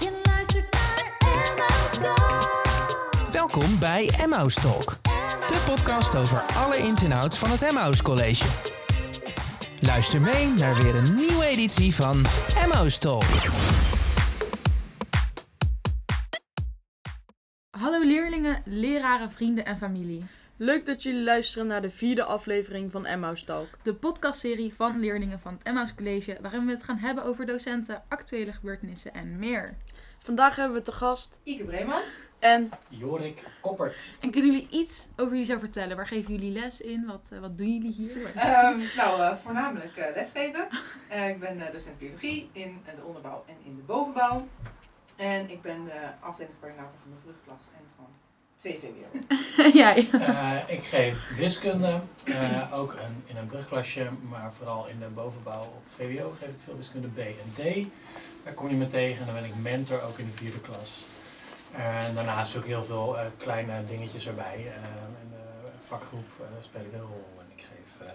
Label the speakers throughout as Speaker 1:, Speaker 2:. Speaker 1: Je luistert naar Emma's Talk.
Speaker 2: Welkom bij Emmaus Talk, de podcast over alle ins en outs van het Emmaus College. Luister mee naar weer een nieuwe editie van Emmaus Talk.
Speaker 3: Hallo leerlingen, leraren, vrienden en familie.
Speaker 4: Leuk dat jullie luisteren naar de vierde aflevering van Emmaus Talk.
Speaker 3: De podcastserie van leerlingen van het Emmaus College, waarin we het gaan hebben over docenten, actuele gebeurtenissen en meer.
Speaker 4: Vandaag hebben we te gast
Speaker 5: Ike Breeman.
Speaker 4: en
Speaker 6: Jorik Koppert.
Speaker 3: En kunnen jullie iets over jullie zo vertellen? Waar geven jullie les in? Wat, eh, wat doen jullie hier?
Speaker 5: Ehm, nou, eh, voornamelijk eh, lesgeven. Eh, ik ben eh, docent biologie in eh, de onderbouw en in de bovenbouw. En ik ben de afdelingscoördinator van de brugklas en van 2 wereld.
Speaker 3: ja, ja.
Speaker 6: Eh, ik geef wiskunde, eh, ook een, in een brugklasje, maar vooral in de bovenbouw op VWO geef ik veel wiskunde B en D. Daar kom je me tegen en dan ben ik mentor ook in de vierde klas. En daarnaast ook heel veel eh, kleine dingetjes erbij. Eh, in de vakgroep eh, speel ik een rol en ik geef... eh,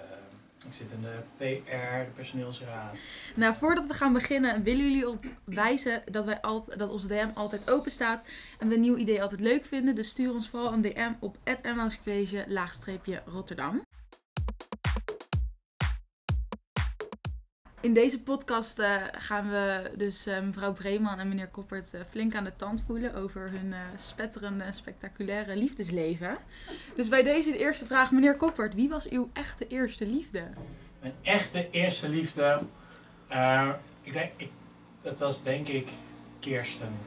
Speaker 6: ik zit in de PR, de personeelsraad.
Speaker 3: Nou, voordat we gaan beginnen, willen jullie op wijzen dat, wij alt- dat onze DM altijd open staat en we een nieuw idee altijd leuk vinden. Dus stuur ons vooral een DM op het Emmaus College laagstreepje Rotterdam. In deze podcast eh, gaan we dus eh, mevrouw Breeman en meneer Koppert eh, flink aan de tand voelen over hun eh, spetterende, spectaculaire liefdesleven. Dus bij deze de eerste vraag, meneer Koppert, wie was uw echte eerste liefde?
Speaker 6: Mijn echte eerste liefde. eh, ik denk, ik, dat was denk ik Kirsten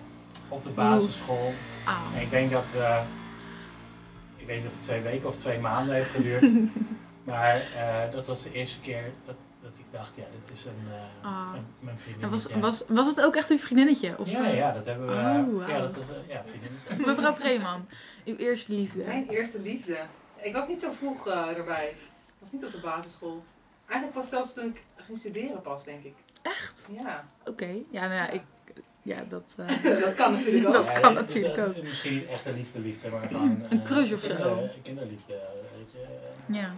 Speaker 6: op de basisschool.
Speaker 3: Ah.
Speaker 6: En ik denk dat we, ik weet niet of het twee weken of twee maanden heeft geduurd. maar eh, dat was de eerste keer dat, dat ik dacht, ja, dit is een, eh,
Speaker 3: Ah.
Speaker 6: een- mijn vriendin.
Speaker 3: En was,
Speaker 6: ja.
Speaker 3: was, was het ook echt uw vriendinnetje? Of, eh,
Speaker 6: ja, ja, dat hebben we.
Speaker 3: Oh, wauw.
Speaker 6: Ja, dat was, eh, ja, vriendinnetje.
Speaker 3: Mevrouw Preeman, uw eerste liefde.
Speaker 5: Mijn eerste liefde. Ik was niet zo vroeg eh erbij. Ik was niet op de basisschool. Eigenlijk pas zelfs toen ik ging studeren pas, denk ik.
Speaker 3: Echt?
Speaker 5: Ja,
Speaker 3: Oké. Ja, nou ja, ik... Ja, dat... eh,
Speaker 5: dat kan natuurlijk ook.
Speaker 3: Dat
Speaker 6: Ja,
Speaker 3: kan
Speaker 6: dit is
Speaker 3: natuurlijk
Speaker 6: echt- Misschien niet echt een liefde-liefde, maar gewoon
Speaker 3: Een
Speaker 6: eh,
Speaker 3: crush of zo.
Speaker 6: kinder- Kinderliefde, weet je.
Speaker 3: ja.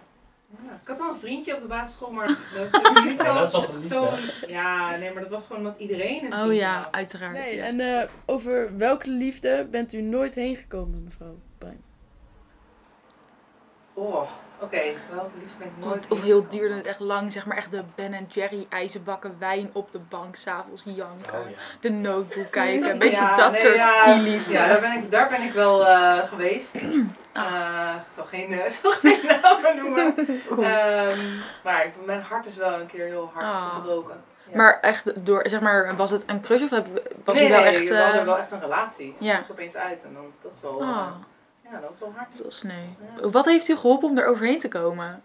Speaker 5: Ja, ik had wel een vriendje op de basisschool, maar dat was niet
Speaker 6: Ja,
Speaker 5: zo...
Speaker 6: dat is toch een liefde.
Speaker 5: zo ja, nee, maar dat was gewoon omdat iedereen een
Speaker 3: Oh
Speaker 5: vriendje
Speaker 3: ja,
Speaker 5: had.
Speaker 3: uiteraard.
Speaker 4: Nee,
Speaker 3: ja.
Speaker 4: en eh, over welke liefde bent u nooit heen gekomen, mevrouw Bruin?
Speaker 5: Oh, oké. Welke liefde ben ik nooit...
Speaker 3: Oh, Of- Of heel duur en echt lang, zeg maar echt de Ben Jerry ijzerbakken wijn op de bank, s'avonds janken,
Speaker 6: Oh, ja.
Speaker 3: de notebook kijken, een beetje
Speaker 5: Ja,
Speaker 3: dat
Speaker 5: nee,
Speaker 3: soort
Speaker 5: ja.
Speaker 3: die liefde.
Speaker 5: Ja, daar ben ik, daar ben ik wel eh, geweest. Eh, ik zal geen, eh, zal geen namen noemen. Ehm, maar ik- mijn hart is wel een keer heel hard
Speaker 3: Ah.
Speaker 5: gebroken. Ja.
Speaker 3: Maar echt door, zeg maar, was het een crush of heb, was
Speaker 5: nee,
Speaker 3: u wel
Speaker 5: nee,
Speaker 3: echt...
Speaker 5: we
Speaker 3: eh,
Speaker 5: hadden wel echt een relatie. En
Speaker 3: ja.
Speaker 5: ja. was opeens uit en dan, dat, is wel, eh,
Speaker 3: ah,
Speaker 5: ja, dat is wel hard.
Speaker 3: dat is nee.
Speaker 5: Ja.
Speaker 3: Wat heeft u geholpen om er overheen te komen?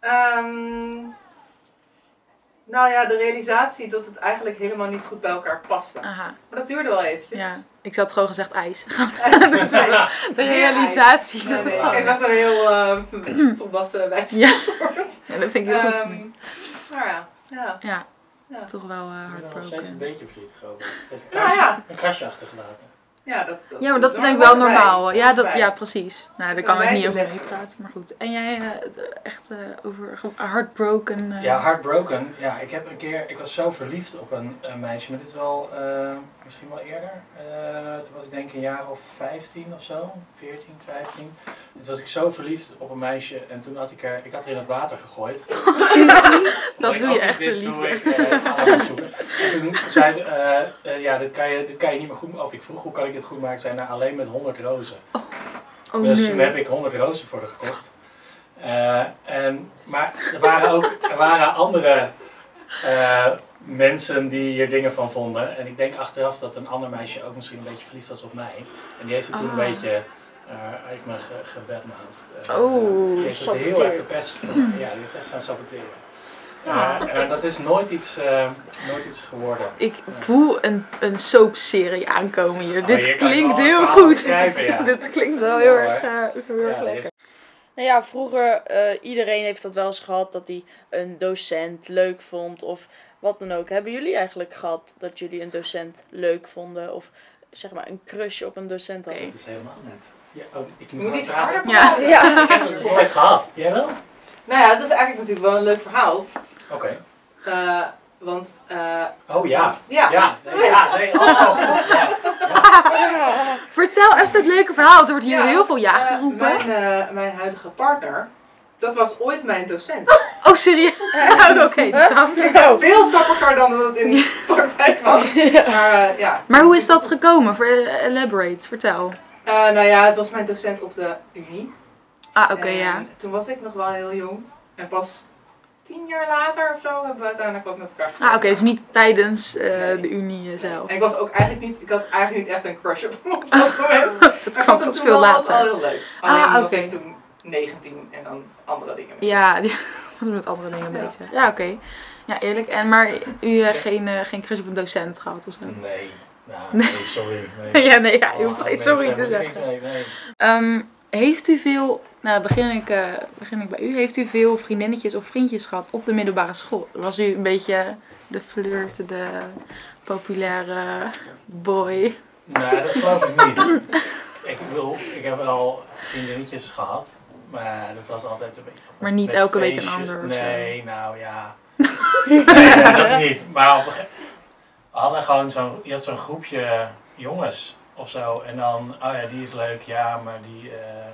Speaker 5: Ehm, nou ja, de realisatie dat het eigenlijk helemaal niet goed bij elkaar paste.
Speaker 3: Aha,
Speaker 5: Maar dat duurde wel eventjes.
Speaker 3: Ah. ja. Ik zat gewoon gezegd ijs.
Speaker 5: Ja.
Speaker 3: De realisatie.
Speaker 5: Nee,
Speaker 3: dat
Speaker 5: nee,
Speaker 3: het
Speaker 5: ik
Speaker 3: gewoon-
Speaker 5: heb echt een heel eh, volwassen wijs
Speaker 3: Ja.
Speaker 5: woord.
Speaker 3: ja, dat vind ik heel goed. van
Speaker 5: Ehm
Speaker 3: je.
Speaker 5: maar ja, ja.
Speaker 3: Ja,
Speaker 5: ja.
Speaker 3: toch wel eh
Speaker 6: Ik ben er nog steeds een
Speaker 3: heartbroken.
Speaker 6: beetje verdrietig over. Het is een
Speaker 5: Nou
Speaker 6: krasje,
Speaker 5: ja,
Speaker 6: een krasje achtergelaten.
Speaker 5: ja, dat,
Speaker 3: Ja, maar dat is denk ik wel normaal. Ja, dat, ja, precies. Nou, daar
Speaker 5: is
Speaker 3: kan
Speaker 5: een
Speaker 3: ik niet over
Speaker 5: wijze les
Speaker 3: muziek praten, maar goed. En jij eh, d- echt eh, over ge- heartbroken... eh,
Speaker 6: Ja, heartbroken. Ja, ik heb een keer, ik was zo verliefd op een, een meisje, maar dit is wel eh, misschien wel eerder. Eh, toen was ik denk een jaar of 15 of zo, 14, 15. Toen was ik zo verliefd op een meisje en toen had ik haar, ik had haar in het water gegooid. Omdat ik
Speaker 3: doe je
Speaker 6: ook niet
Speaker 3: echt
Speaker 6: wist
Speaker 3: een
Speaker 6: hoe ik, eh, aan moest zoeken. En toen zei eh, eh, ja, dit kan, je, dit kan je niet meer goed Of ik vroeg, hoe kan ik dit goed maken? Zei, nou, alleen met 100 rozen.
Speaker 3: oh
Speaker 6: dus toen
Speaker 3: nee.
Speaker 6: heb ik 100 rozen voor haar gekocht. Eh, en, maar er waren ook er waren andere eh, mensen die hier dingen van vonden. En ik denk achteraf dat een ander meisje ook misschien een beetje verliefd was op mij. En die heeft het toen
Speaker 3: Ah.
Speaker 6: een beetje, eh, heeft me ge gebedmouthed. Eh,
Speaker 3: Oh,
Speaker 6: die heeft het heel erg verpest. voor mij. Ja, die is echt gaan saboteren. Eh,
Speaker 3: Ah.
Speaker 6: en dat is nooit iets, eh, nooit iets geworden.
Speaker 3: Ik voel een, een soapserie aankomen hier.
Speaker 6: Oh,
Speaker 3: Dit
Speaker 6: hier kan ik
Speaker 3: klinkt
Speaker 6: wel
Speaker 3: heel
Speaker 6: een verhaal
Speaker 3: goed.
Speaker 6: schrijven, ja.
Speaker 3: Dit klinkt wel heel
Speaker 6: Ja,
Speaker 3: erg, eh, heel
Speaker 6: Ja,
Speaker 3: erg
Speaker 6: er is
Speaker 3: lekker.
Speaker 4: Nou ja, vroeger, eh, iedereen heeft dat wel eens gehad dat hij een docent leuk vond of wat dan ook. Hebben jullie eigenlijk gehad dat jullie een docent leuk vonden of zeg maar een crush op een docent hadden?
Speaker 6: Dat is helemaal net. Ja, oh, ik
Speaker 5: Je
Speaker 6: moet,
Speaker 5: moet
Speaker 6: hard
Speaker 5: iets
Speaker 6: praten.
Speaker 5: harder
Speaker 3: Ja.
Speaker 5: praten.
Speaker 4: Ja.
Speaker 6: Ik heb het nooit gehad. Jij wel?
Speaker 5: Nou ja, het is eigenlijk natuurlijk wel een leuk verhaal.
Speaker 6: Oké.
Speaker 5: Eh, want, eh,
Speaker 6: Oh ja.
Speaker 5: ja.
Speaker 6: Ja, nee, ja, nee, Oh. allemaal goed. Ja.
Speaker 3: Vertel even het leuke verhaal. want Er wordt hier
Speaker 5: Ja,
Speaker 3: heel veel ja
Speaker 5: eh,
Speaker 3: geroepen.
Speaker 5: mijn, eh, mijn huidige partner, dat was ooit mijn docent.
Speaker 3: Oh, serieus? Oh, Oké, dan.
Speaker 5: Nou, veel sappiger dan dat het in de praktijk was. Maar eh, ja.
Speaker 3: Maar hoe is dat gekomen? Ver- Elaborate, vertel.
Speaker 5: Eh, nou ja, het was mijn docent op de Unie.
Speaker 3: Ah, oké,
Speaker 5: En
Speaker 3: ja.
Speaker 5: Toen was ik nog wel heel jong. En pas tien jaar later of zo hebben we uiteindelijk wat met elkaar
Speaker 3: Ah, oké, dus niet tijdens eh,
Speaker 5: Nee.
Speaker 3: de Unie eh, zelf.
Speaker 5: En ik was ook eigenlijk niet, ik had eigenlijk niet echt een crush op hem op dat moment. Maar ik
Speaker 3: kwam
Speaker 5: vond hem
Speaker 3: pas
Speaker 5: toen wel
Speaker 3: veel later.
Speaker 5: al heel leuk. Alleen
Speaker 3: Ah,
Speaker 5: was
Speaker 3: oké.
Speaker 5: ik toen 19 en dan andere dingen. mee.
Speaker 3: Ja, die was met andere dingen
Speaker 5: Ja.
Speaker 3: bezig. Ja, oké. Ja, eerlijk. En, maar u eh, geen, eh geen crush op een docent gehad of zo?
Speaker 6: Nee. Ja, nee, sorry. Nee.
Speaker 3: Ja, nee, ja, je
Speaker 6: Oh,
Speaker 3: hoeft geen
Speaker 6: mensen
Speaker 3: sorry te
Speaker 6: hebben niks.
Speaker 3: zeggen.
Speaker 6: Nee, nee.
Speaker 3: Ehm, heeft u veel, nou begin ik, eh, begin ik bij u, heeft u veel vriendinnetjes of vriendjes gehad op de middelbare school? Was u een beetje de flirt, de populaire boy?
Speaker 6: Nee, dat geloof ik niet. Ik bedoel, ik heb wel vriendinnetjes gehad, maar dat was altijd een beetje...
Speaker 3: Maar niet
Speaker 6: met
Speaker 3: elke week een
Speaker 6: feestje.
Speaker 3: ander of zo.
Speaker 6: Nee, nou ja. Nee, nee, dat niet. Maar op een gege- we hadden gewoon zo'n, je had zo'n groepje jongens of zo. En dan, oh ja, die is leuk, ja, maar die, eh,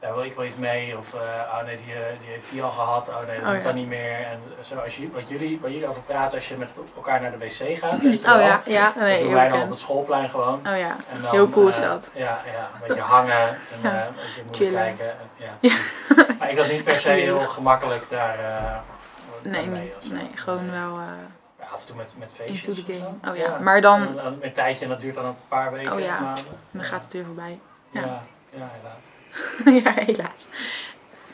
Speaker 6: daar wil ik wel iets mee. Of, eh, oh nee, die, eh, die heeft die al gehad, oh nee, dat
Speaker 3: Oh
Speaker 6: moet
Speaker 3: ja.
Speaker 6: dan niet meer. En zo, als je, wat jullie, waar jullie over praten als je met elkaar naar de wc gaat, weet je
Speaker 3: Oh
Speaker 6: wel.
Speaker 3: ja, ja,
Speaker 6: dat
Speaker 3: nee,
Speaker 6: doen
Speaker 3: heel
Speaker 6: wij dan op het
Speaker 3: bekend.
Speaker 6: schoolplein gewoon.
Speaker 3: Oh ja,
Speaker 6: En dan,
Speaker 3: Heel cool is
Speaker 6: eh,
Speaker 3: dat.
Speaker 6: ja, ja, een beetje hangen en eh
Speaker 3: Ja.
Speaker 6: een beetje moeilijk
Speaker 3: Chillen.
Speaker 6: kijken. en- Ja. Maar ik was niet per se heel gemakkelijk daar eh
Speaker 3: nee,
Speaker 6: mee
Speaker 3: niet,
Speaker 6: of zo.
Speaker 3: nee, gewoon wel eh,
Speaker 6: Ja, af en toe met, met
Speaker 3: into
Speaker 6: feestjes
Speaker 3: the
Speaker 6: of
Speaker 3: game.
Speaker 6: zo.
Speaker 3: Oh ja, maar dan,
Speaker 6: En
Speaker 3: en
Speaker 6: een, een tijdje en dat duurt dan een paar weken
Speaker 3: Oh ja.
Speaker 6: of maanden.
Speaker 3: dan gaat het weer voorbij.
Speaker 6: ja.
Speaker 3: ja.
Speaker 6: Ja, ja, helaas.
Speaker 3: ja, helaas.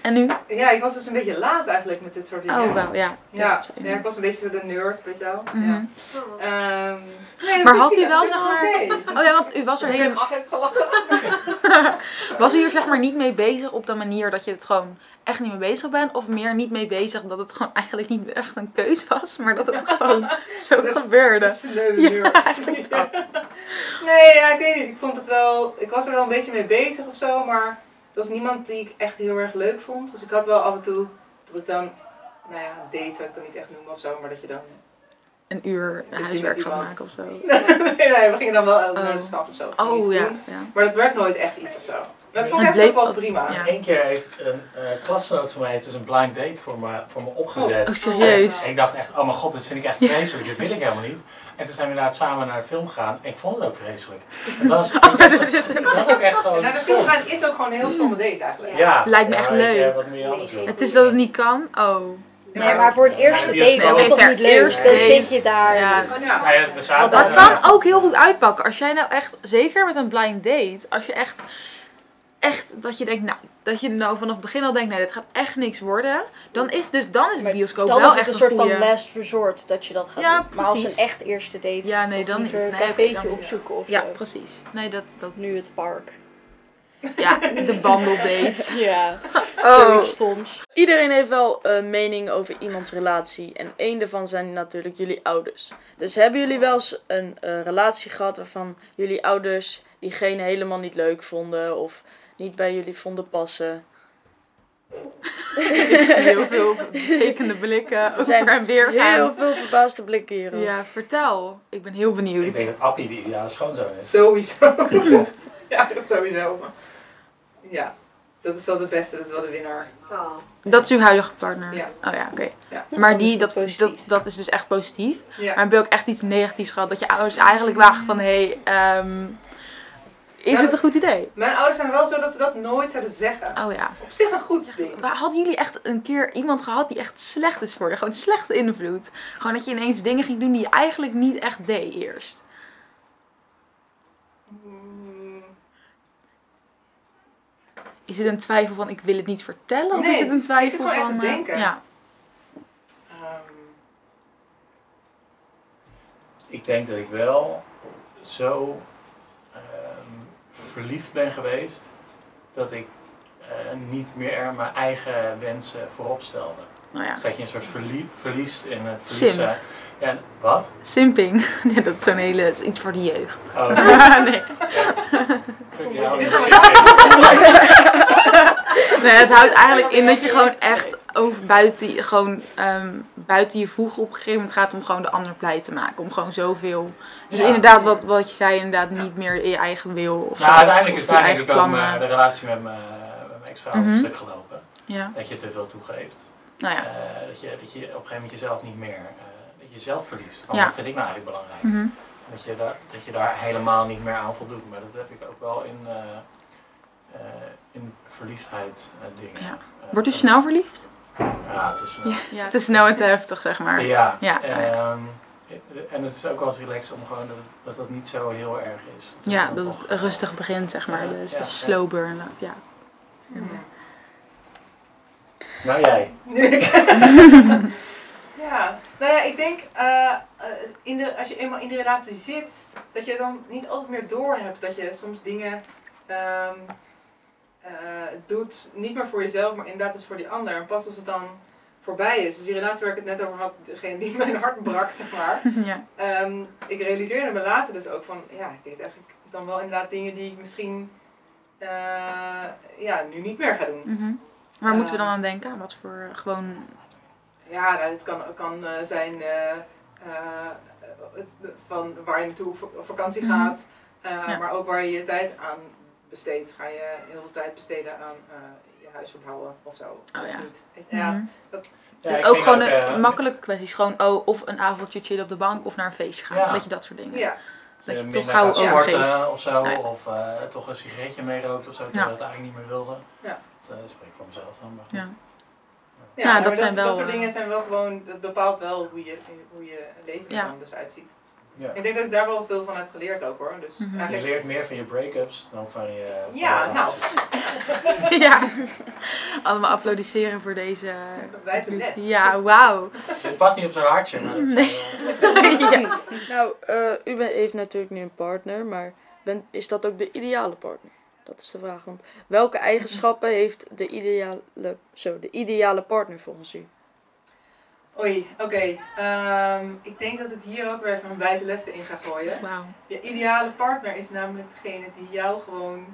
Speaker 3: En nu?
Speaker 5: Ja, ik was dus een beetje laat eigenlijk met dit soort dingen.
Speaker 3: Oh, wel, ja.
Speaker 5: Ja,
Speaker 3: zo.
Speaker 5: ja, ik was een beetje de nerd, weet je wel.
Speaker 3: Mhm.
Speaker 5: Ja. Ehm, nee, dat
Speaker 3: Maar
Speaker 5: is
Speaker 3: had
Speaker 5: niet
Speaker 3: u wel,
Speaker 5: erg.
Speaker 3: zeg
Speaker 5: Dat
Speaker 3: maar-
Speaker 5: is oké.
Speaker 3: Oh ja, want u was er
Speaker 5: Ik
Speaker 3: helemaal...
Speaker 5: heb mag heeft gelachen.
Speaker 3: Was u hier zeg maar niet mee bezig op de manier dat je het gewoon echt niet mee bezig bent? Of meer niet mee bezig dat het gewoon eigenlijk niet echt een keus was, maar dat het gewoon zo
Speaker 5: Dus-
Speaker 3: gebeurde?
Speaker 5: De sneu
Speaker 3: Ja,
Speaker 5: nerd.
Speaker 3: eigenlijk dat.
Speaker 5: Nee, ja, ik weet niet. Ik vond het wel. Ik was er wel een beetje mee bezig of zo, maar er was niemand die ik echt heel erg leuk vond. Dus ik had wel af en toe dat ik dan, nou ja, een date zou ik dan niet echt noemen of zo, maar dat je dan.
Speaker 3: Een uur
Speaker 5: je
Speaker 3: huiswerk
Speaker 5: met
Speaker 3: gaan
Speaker 5: iemand-
Speaker 3: maken of zo.
Speaker 5: nee, nee, we gingen dan wel eh, naar de
Speaker 3: Oh.
Speaker 5: stad of zo. om iets
Speaker 3: Oh
Speaker 5: te
Speaker 3: ja,
Speaker 5: doen.
Speaker 3: ja.
Speaker 5: Maar dat werd nooit echt iets of zo. Dat vond ik
Speaker 3: Het
Speaker 5: eigenlijk ook
Speaker 3: bleef
Speaker 5: wel
Speaker 3: ook-
Speaker 5: prima.
Speaker 3: ja.
Speaker 6: Eén keer heeft een eh, klasgenoot van mij heeft dus een blind date voor me, voor me opgezet.
Speaker 3: Oh, serieus?
Speaker 6: En ik dacht echt, oh mijn god, dit vind ik echt vreselijk, dit wil ik helemaal niet. En toen zijn we inderdaad samen naar de film gegaan. Ik vond het ook vreselijk. Het was, het was ook echt
Speaker 5: En
Speaker 6: gewoon
Speaker 5: naar de
Speaker 6: stom.
Speaker 5: film gaan is ook gewoon een heel stomme date eigenlijk.
Speaker 6: Ja.
Speaker 3: Lijkt me echt
Speaker 6: Ja, weet je,
Speaker 3: leuk.
Speaker 6: Wat moet je anders doen?
Speaker 3: Het is dat het niet kan? Oh.
Speaker 7: Nee, maar voor een eerste
Speaker 6: Ja, die
Speaker 7: date
Speaker 6: is
Speaker 7: is
Speaker 6: wel-
Speaker 7: het toch niet leuk?
Speaker 3: Eerste
Speaker 7: Dan
Speaker 3: date.
Speaker 7: zit je daar.
Speaker 3: Ja.
Speaker 5: Ja.
Speaker 6: Nou ja, we zaten
Speaker 7: Maar
Speaker 3: Dat
Speaker 6: daar.
Speaker 3: kan ook heel goed uitpakken. Als jij nou echt, zeker met een blind date, als je echt, echt dat je denkt, nou, dat je nou vanaf het begin al denkt, nou, dit gaat echt niks worden. Dan is, dus dan is de
Speaker 7: Maar
Speaker 3: bioscoop
Speaker 7: Dan
Speaker 3: wel
Speaker 7: is het
Speaker 3: echt
Speaker 7: een soort van
Speaker 3: goeie.
Speaker 7: last resort dat je dat gaat
Speaker 3: Ja,
Speaker 7: doen. Maar als
Speaker 3: precies.
Speaker 7: een echt eerste date,
Speaker 3: Ja, nee,
Speaker 7: toch
Speaker 3: dan
Speaker 7: liever
Speaker 3: niet.
Speaker 7: een
Speaker 3: Nee, oké,
Speaker 7: cafeetje
Speaker 3: dan niet.
Speaker 7: opzoeken of
Speaker 3: Ja,
Speaker 7: zo.
Speaker 3: precies. Nee, dat, dat
Speaker 7: Nu het park.
Speaker 3: Ja, de wandeldates.
Speaker 7: Ja,
Speaker 3: Oh.
Speaker 7: zoiets stoms.
Speaker 4: Iedereen heeft wel een mening over iemands relatie. En één daarvan zijn natuurlijk jullie ouders. Dus hebben jullie wel eens een eh, relatie gehad waarvan jullie ouders diegene helemaal niet leuk vonden of niet bij jullie vonden passen?
Speaker 3: Ik zie heel veel betekende blikken
Speaker 4: Er zijn
Speaker 3: over en weer
Speaker 4: Heel
Speaker 3: gaan.
Speaker 4: veel verbaasde blikken hierop.
Speaker 3: Ja, vertel. Ik ben heel
Speaker 6: Ik denk
Speaker 3: benieuwd.
Speaker 6: dat Appie de ideale schoonzoon is.
Speaker 5: Sowieso. ja, dat sowieso. maar- Ja, dat is wel de beste, dat is wel de winnaar.
Speaker 8: Oh,
Speaker 3: Dat is uw huidige partner?
Speaker 5: Ja.
Speaker 3: Oh ja, oké.
Speaker 5: Ja.
Speaker 3: Maar die,
Speaker 7: Dat
Speaker 3: dat,
Speaker 7: is
Speaker 3: dat,
Speaker 7: positief.
Speaker 3: dat is dus echt positief.
Speaker 5: Ja.
Speaker 3: Maar heb je ook echt iets negatiefs gehad? Dat je ouders eigenlijk wagen van, hé, hey, ehm, is
Speaker 5: Ja,
Speaker 3: het een goed idee?
Speaker 5: Mijn ouders zijn wel zo dat ze dat nooit zouden zeggen.
Speaker 3: Oh ja.
Speaker 5: Op zich een goed ding.
Speaker 3: Maar Hadden jullie echt een keer iemand gehad die echt slecht is voor je? Gewoon slechte invloed. Gewoon dat je ineens dingen ging doen die je eigenlijk niet echt deed eerst.
Speaker 5: Mm,
Speaker 3: Is het een twijfel van ik wil het niet vertellen? Of
Speaker 5: Nee,
Speaker 3: is het een twijfel
Speaker 5: ik zit gewoon echt
Speaker 3: van...
Speaker 5: te
Speaker 3: eh,
Speaker 5: denken.
Speaker 3: Ja.
Speaker 5: ehm,
Speaker 6: Ik denk dat ik wel zo ehm, verliefd ben geweest dat ik eh, niet meer mijn eigen wensen voorop stelde.
Speaker 3: Nou ja.
Speaker 6: Dus dat je een soort verlie- verliest in het
Speaker 3: Sim.
Speaker 6: verliezen. Ja, wat?
Speaker 3: Simping. Ja, dat is zo'n hele... dat is iets voor de jeugd.
Speaker 6: Oh,
Speaker 3: nee. Dus
Speaker 6: fuck jou.
Speaker 5: Dit gaan we
Speaker 3: nee, het houdt eigenlijk in dat je gewoon echt over buiten, gewoon, ehm, buiten je voegen op een gegeven moment gaat het om gewoon de ander blij te maken. Om gewoon zoveel. Dus
Speaker 6: Ja.
Speaker 3: inderdaad, wat, wat je zei, inderdaad niet meer je eigen wil. Of
Speaker 6: Nou,
Speaker 3: zo,
Speaker 6: uiteindelijk is
Speaker 3: of
Speaker 6: daar
Speaker 3: je
Speaker 6: denk
Speaker 3: eigen
Speaker 6: ik ook eh, mijn- de
Speaker 3: plannen.
Speaker 6: relatie met mijn, eh, met mijn ex-vrouw
Speaker 3: Mhm.
Speaker 6: een stuk gelopen.
Speaker 3: Ja,
Speaker 6: Dat je te veel toegeeft.
Speaker 3: nou ja.
Speaker 6: Eh, dat, je, dat je op een gegeven moment jezelf niet meer, eh, dat je jezelf verliest. Van,
Speaker 3: Ja.
Speaker 6: Wat vind ik nou eigenlijk belangrijk?
Speaker 3: Mhm.
Speaker 6: Dat, je daar, dat je daar helemaal niet meer aan voldoet. Maar dat heb ik ook wel in, eh, eh, in verliefdheid eh, dingen.
Speaker 3: Ja.
Speaker 6: Eh,
Speaker 3: Wordt u snel verliefd?
Speaker 6: Ja, tussen
Speaker 3: Ja, te snel en te heftig, zeg maar.
Speaker 6: Ja.
Speaker 3: Ja.
Speaker 6: ehm, en het is ook wel eens relaxed om gewoon dat het, dat het niet zo heel erg is.
Speaker 3: Ja,
Speaker 6: dan
Speaker 3: dat
Speaker 6: toch,
Speaker 3: het
Speaker 6: eh,
Speaker 3: rustig begint, zeg maar.
Speaker 6: Ja,
Speaker 3: Dus
Speaker 6: ja,
Speaker 3: de
Speaker 6: ja.
Speaker 3: slow burn. Ja.
Speaker 6: Nou jij.
Speaker 5: ja, nou ja, ik denk eh, eh, in de, als je eenmaal in die relatie zit, dat je dan niet altijd meer doorhebt. Dat je soms dingen ehm, eh, doet, niet meer voor jezelf, maar inderdaad dus voor die ander. En pas als het dan voorbij is. Dus die relatie waar ik het net over had, degene die mijn hart brak, zeg maar.
Speaker 3: ja.
Speaker 5: Ehm, ik realiseerde me later dus ook van, ja, ik deed eigenlijk dan wel inderdaad dingen die ik misschien eh, ja, nu niet meer ga doen.
Speaker 3: Mhm. Waar
Speaker 5: Ja.
Speaker 3: moeten we dan aan denken? Aan Wat voor eh, gewoon.
Speaker 5: Ja, nou, het kan, kan eh, zijn eh, eh, het- van waar je naartoe op op vakantie
Speaker 3: Mhm.
Speaker 5: gaat, eh,
Speaker 3: Ja.
Speaker 5: maar ook waar je je tijd aan besteedt. Ga je heel veel tijd besteden aan eh, je huis verbouwen of zo?
Speaker 3: Oh
Speaker 5: of
Speaker 3: ja.
Speaker 5: niet? Ja,
Speaker 3: Mhm.
Speaker 6: Ja,
Speaker 3: En
Speaker 6: ik
Speaker 3: ook
Speaker 6: vind
Speaker 3: gewoon een
Speaker 6: eh,
Speaker 3: makkelijke kwesties. Gewoon oh, of een avondje chillen op de bank of naar een feestje gaan.
Speaker 6: Ja.
Speaker 3: Een beetje dat soort dingen.
Speaker 5: ja.
Speaker 6: eh,
Speaker 3: Dat je
Speaker 6: minder
Speaker 3: toch gauw
Speaker 6: gaat sporten
Speaker 3: overgeeft.
Speaker 6: of zo.
Speaker 3: Nee.
Speaker 6: Of eh, toch een sigaretje mee rookt of zo. Terwijl
Speaker 3: Ja.
Speaker 6: je dat eigenlijk niet meer wilde.
Speaker 5: Ja.
Speaker 6: Dat eh, spreek ik voor mezelf dan. Maar goed.
Speaker 3: Ja.
Speaker 5: Ja,
Speaker 3: Ja,
Speaker 5: maar
Speaker 3: dat
Speaker 5: dat,
Speaker 3: zijn
Speaker 5: dat
Speaker 3: wel,
Speaker 5: soort
Speaker 3: eh,
Speaker 5: dingen zijn wel gewoon, dat bepaalt wel hoe je, hoe je leven er
Speaker 3: Ja.
Speaker 5: dan dus uitziet.
Speaker 6: Ja.
Speaker 5: Ik denk dat ik daar wel veel van heb geleerd ook hoor. Dus
Speaker 3: Mhm.
Speaker 6: Je
Speaker 5: eigenlijk,
Speaker 6: leert meer van je break-ups dan van je... eh, van
Speaker 5: Ja,
Speaker 6: je
Speaker 5: nou.
Speaker 6: relaties.
Speaker 3: ja. Allemaal applaudisseren voor deze.
Speaker 5: wijze les.
Speaker 3: Ja, wauw.
Speaker 6: Dit past niet op zo'n hartje, maar dat is, eh,
Speaker 3: ja.
Speaker 4: Nou, eh, u bent- heeft natuurlijk nu een partner, maar bent- is dat ook de ideale partner? Dat is de vraag. Want welke eigenschappen heeft de ideale, zo, de ideale partner volgens u?
Speaker 5: Oei, oké. Ehm, ik denk dat ik hier ook weer even een wijze les in ga gooien.
Speaker 3: Wauw.
Speaker 5: Je ideale partner is namelijk degene die jou gewoon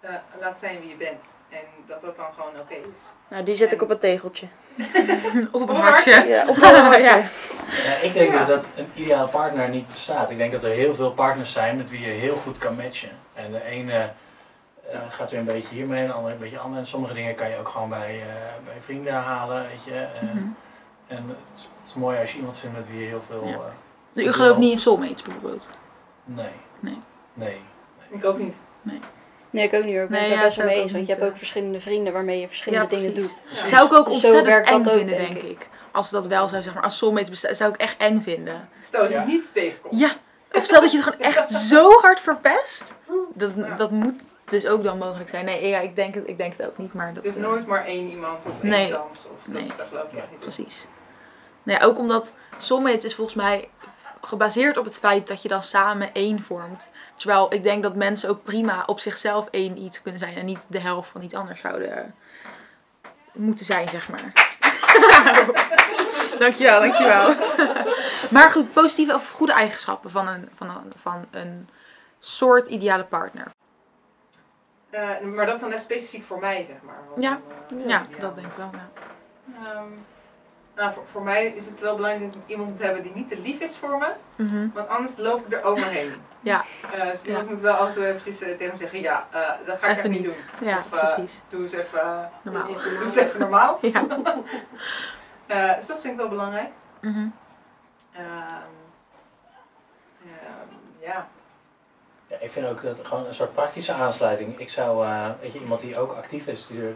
Speaker 5: eh, laat zijn wie je bent. En dat dat dan gewoon oké is.
Speaker 4: Nou, die zet ik op het tegeltje.
Speaker 3: Op een
Speaker 5: Op
Speaker 3: hartje.
Speaker 4: Ja, op het hartje.
Speaker 3: Ja.
Speaker 6: Ja, ik denk
Speaker 5: Ja.
Speaker 6: dus dat een ideale partner niet bestaat. Ik denk dat er heel veel partners zijn met wie je heel goed kan matchen. En de ene eh, gaat weer een beetje hiermee, en de andere een beetje anders. En sommige dingen kan je ook gewoon bij, eh, bij vrienden halen, weet je. Eh,
Speaker 3: Mhm.
Speaker 6: En het is, het is mooi als je iemand vindt met wie je heel veel...
Speaker 3: Ja.
Speaker 6: eh,
Speaker 3: U gelooft niet in soulmates bijvoorbeeld.
Speaker 6: nee.
Speaker 3: Nee.
Speaker 6: Nee.
Speaker 5: Ik ook niet.
Speaker 7: Nee, ik ook niet hoor. Ik ben
Speaker 3: Nee, ja,
Speaker 7: het daar best wel
Speaker 3: zou ik
Speaker 7: mee
Speaker 3: ook
Speaker 7: eens. Want je
Speaker 3: niet,
Speaker 7: hebt
Speaker 3: eh.
Speaker 7: ook verschillende vrienden waarmee je verschillende dingen
Speaker 3: precies.
Speaker 7: doet. Dus
Speaker 6: Precies.
Speaker 3: Zou ik ook
Speaker 7: Zo
Speaker 3: ontzettend
Speaker 7: werkt dat
Speaker 3: eng
Speaker 7: ook,
Speaker 3: vinden,
Speaker 7: denk
Speaker 3: denk ik. Als dat wel zou, zeg maar, als soulmates bestaan, zou ik echt eng vinden.
Speaker 5: Stel dat je
Speaker 6: Ja.
Speaker 5: niets tegenkomt.
Speaker 3: Ja, of stel dat je het gewoon echt zo hard verpest.
Speaker 5: Ja.
Speaker 3: Dat, dat moet dus ook dan mogelijk zijn. Nee, ja, ik denk het, ik denk het ook niet, maar dat...
Speaker 5: Dus
Speaker 3: eh,
Speaker 5: nooit maar één iemand of één
Speaker 3: Nee.
Speaker 5: kans. Of dat,
Speaker 3: Nee.
Speaker 5: dat geloof ik echt niet. in.
Speaker 3: Precies. Nou ja, ook omdat soulmates is volgens mij gebaseerd op het feit dat je dan samen één vormt. Terwijl ik denk dat mensen ook prima op zichzelf één iets kunnen zijn en niet de helft van iets anders zouden moeten zijn, zeg maar. dankjewel, dankjewel. maar goed, positieve of goede eigenschappen van een, van een, van een soort ideale partner.
Speaker 5: Eh, maar dat is dan echt specifiek voor mij, zeg maar. wat
Speaker 3: Ja.
Speaker 5: dan, eh,
Speaker 3: Ja,
Speaker 5: ideaal
Speaker 3: dat
Speaker 5: is.
Speaker 3: denk ik wel. Ja.
Speaker 5: Ehm, nou, voor, voor mij is het wel belangrijk dat ik iemand te hebben die niet te lief is voor me.
Speaker 3: Mhm.
Speaker 5: Want anders loop ik er overheen.
Speaker 3: Ja.
Speaker 5: Eh, dus
Speaker 3: Ja.
Speaker 5: ik moet wel af en toe eventjes eh, tegen hem zeggen, ja, eh, dat ga ik
Speaker 3: Even
Speaker 5: echt niet
Speaker 3: niet.
Speaker 5: doen.
Speaker 3: ja
Speaker 5: Of, eh,
Speaker 3: precies.
Speaker 5: Doe eens even, eh,
Speaker 3: Normaal.
Speaker 5: doe eens even normaal.
Speaker 3: Ja.
Speaker 5: Eh, dus dat vind ik wel belangrijk.
Speaker 3: Mhm.
Speaker 5: Ehm, ehm, ja.
Speaker 6: Ja, ik vind ook dat gewoon een soort praktische aansluiting. Ik zou, eh, weet je, iemand die ook actief is, die er...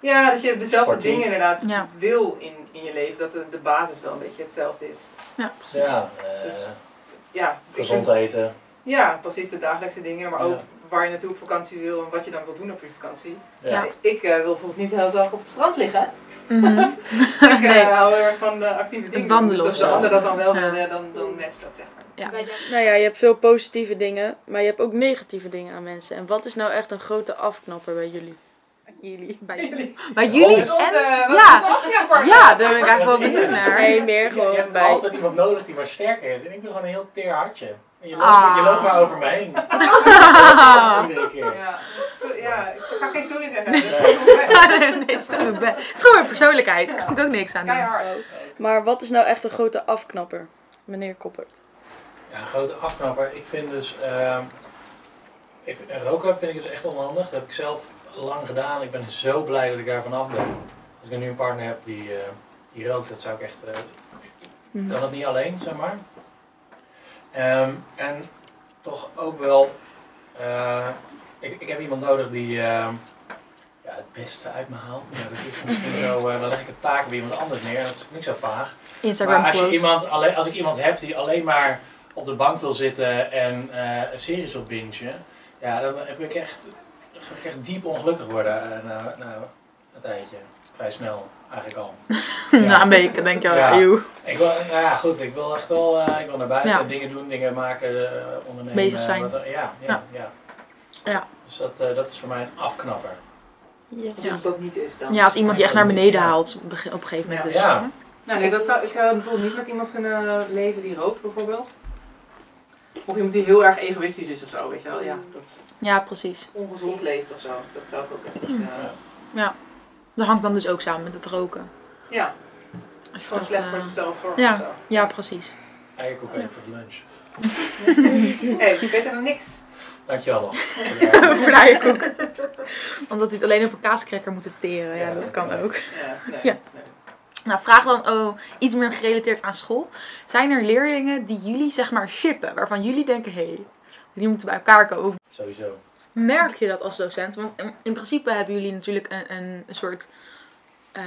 Speaker 5: ja, dat je dezelfde
Speaker 6: Sportief.
Speaker 5: dingen inderdaad
Speaker 3: Ja.
Speaker 5: wil in, in je leven. Dat de, de basis wel een beetje hetzelfde is.
Speaker 3: Ja, precies.
Speaker 6: Ja, eh,
Speaker 5: Dus- Ja, ik
Speaker 6: gezond
Speaker 5: vind-
Speaker 6: eten.
Speaker 5: ja, precies de dagelijkse dingen. Maar ook
Speaker 6: Ja.
Speaker 5: waar je naartoe op vakantie wil en wat je dan wil doen op je vakantie.
Speaker 3: Ja.
Speaker 5: Ik eh, wil bijvoorbeeld niet de hele dag op het strand liggen.
Speaker 3: Mhm.
Speaker 5: Ik eh,
Speaker 3: Nee.
Speaker 5: hou heel erg van eh, actieve dingen. doen.
Speaker 3: wandelen
Speaker 5: Dus
Speaker 3: of
Speaker 5: als de
Speaker 6: zo.
Speaker 5: ander dat dan wel
Speaker 3: Ja.
Speaker 5: wil, eh, dan, dan matcht dat zeg maar.
Speaker 4: Nou ja, je hebt veel positieve dingen, maar je hebt ook negatieve dingen aan mensen. En wat is nou echt een grote afknapper bij jullie?
Speaker 3: Jullie. Bij jullie.
Speaker 6: Oh,
Speaker 3: Bij jullie.
Speaker 5: Dus onze,
Speaker 3: en-
Speaker 5: wat
Speaker 3: ja.
Speaker 5: is onze afknapper?
Speaker 3: Ja, daar ben ik eigenlijk wel benieuwd naar.
Speaker 4: Nee, meer
Speaker 6: Je
Speaker 4: gewoon
Speaker 6: hebt
Speaker 4: bij...
Speaker 6: altijd iemand nodig die maar sterker is. En ik ben gewoon een heel teer hartje. Ik En je, loopt, je
Speaker 3: Ah.
Speaker 6: loopt maar over mij heen. Iedere keer.
Speaker 5: Ja, dat is zo- ja, ik ga geen sorry zeggen. Dat is
Speaker 6: Nee.
Speaker 5: gewoon-
Speaker 3: nee, het is gewoon mijn be- het is gewoon mijn persoonlijkheid. Daar kan ik ook niks aan doen.
Speaker 5: Keihard.
Speaker 7: Maar wat is nou echt een grote...
Speaker 4: De afknapper, meneer Koppert.
Speaker 6: Ja, een grote afknapper. Ik vind dus. ehm ik, een rookruim vind ik dus echt onhandig. Dat heb ik zelf lang gedaan. Ik ben zo blij dat ik daar vanaf ben. Als ik nu een partner heb die, eh, die rookt, dat zou ik echt. eh, ik kan dat niet alleen, zeg maar. Ehm, en toch ook wel. eh, ik, ik heb iemand nodig die. ehm, ja, het beste uit me haalt. Ja, dat is misschien zo, eh, dan leg ik het taak bij iemand anders neer. Dat is niet zo vaag.
Speaker 3: Instagram
Speaker 6: Maar als, je
Speaker 3: quote.
Speaker 6: iemand, alleen, als ik iemand heb die alleen maar op de bank wil zitten en eh, een series wil bingen, ja, dan heb ik echt, dan ga ik echt diep ongelukkig worden eh, na, na een tijdje. Vrij snel, eigenlijk al.
Speaker 3: Na een week Nou, denk je,
Speaker 6: Ja.
Speaker 3: ja. eeuw.
Speaker 6: Ik wil, nou ja, goed, ik wil echt wel eh, ik wil naar buiten,
Speaker 3: Ja.
Speaker 6: dingen doen, dingen maken, eh, ondernemen.
Speaker 3: Bezig zijn.
Speaker 6: wat dan- ja, ja,
Speaker 3: Ja.
Speaker 6: ja,
Speaker 3: Ja.
Speaker 6: Dus dat, eh, dat is voor mij een afknapper.
Speaker 5: Als het dat niet is dan.
Speaker 3: Ja, als iemand die echt naar beneden haalt op een ge- op een gegeven moment.
Speaker 6: Ja. Ja.
Speaker 3: Dus,
Speaker 5: Nou, nee, dat zou, ik zou bijvoorbeeld niet met iemand kunnen leven die rookt bijvoorbeeld. Of iemand die heel erg egoïstisch is of zo, weet je wel.
Speaker 3: Mm.
Speaker 5: Ja, dat
Speaker 3: ja, precies.
Speaker 5: ongezond leeft of zo. Dat zou ik ook echt niet... eh,
Speaker 3: Dat hangt dan dus ook samen met het roken.
Speaker 5: ja,
Speaker 3: Als je
Speaker 5: gewoon
Speaker 3: dat,
Speaker 5: slecht
Speaker 3: eh,
Speaker 5: voor zichzelf zorgt
Speaker 3: ja.
Speaker 5: of zo.
Speaker 3: Ja, precies.
Speaker 6: Eigenlijk ook even voor de lunch.
Speaker 5: Hé, hey, beter dan niks.
Speaker 6: Dankjewel nog.
Speaker 3: Vlaaierkoek. Omdat hij het alleen op een kaascracker moet teren. Ja,
Speaker 6: Ja,
Speaker 3: dat kan
Speaker 6: ja.
Speaker 3: ook.
Speaker 5: Ja, sneu,
Speaker 3: Ja.
Speaker 5: sneu.
Speaker 3: Nou, vraag dan oh, iets meer gerelateerd aan school. Zijn er leerlingen die jullie, zeg maar, shippen? Waarvan jullie denken, hé, hey, die moeten bij elkaar komen?
Speaker 6: Sowieso.
Speaker 3: Merk je dat als docent? Want in, in principe hebben jullie natuurlijk een, een soort eh,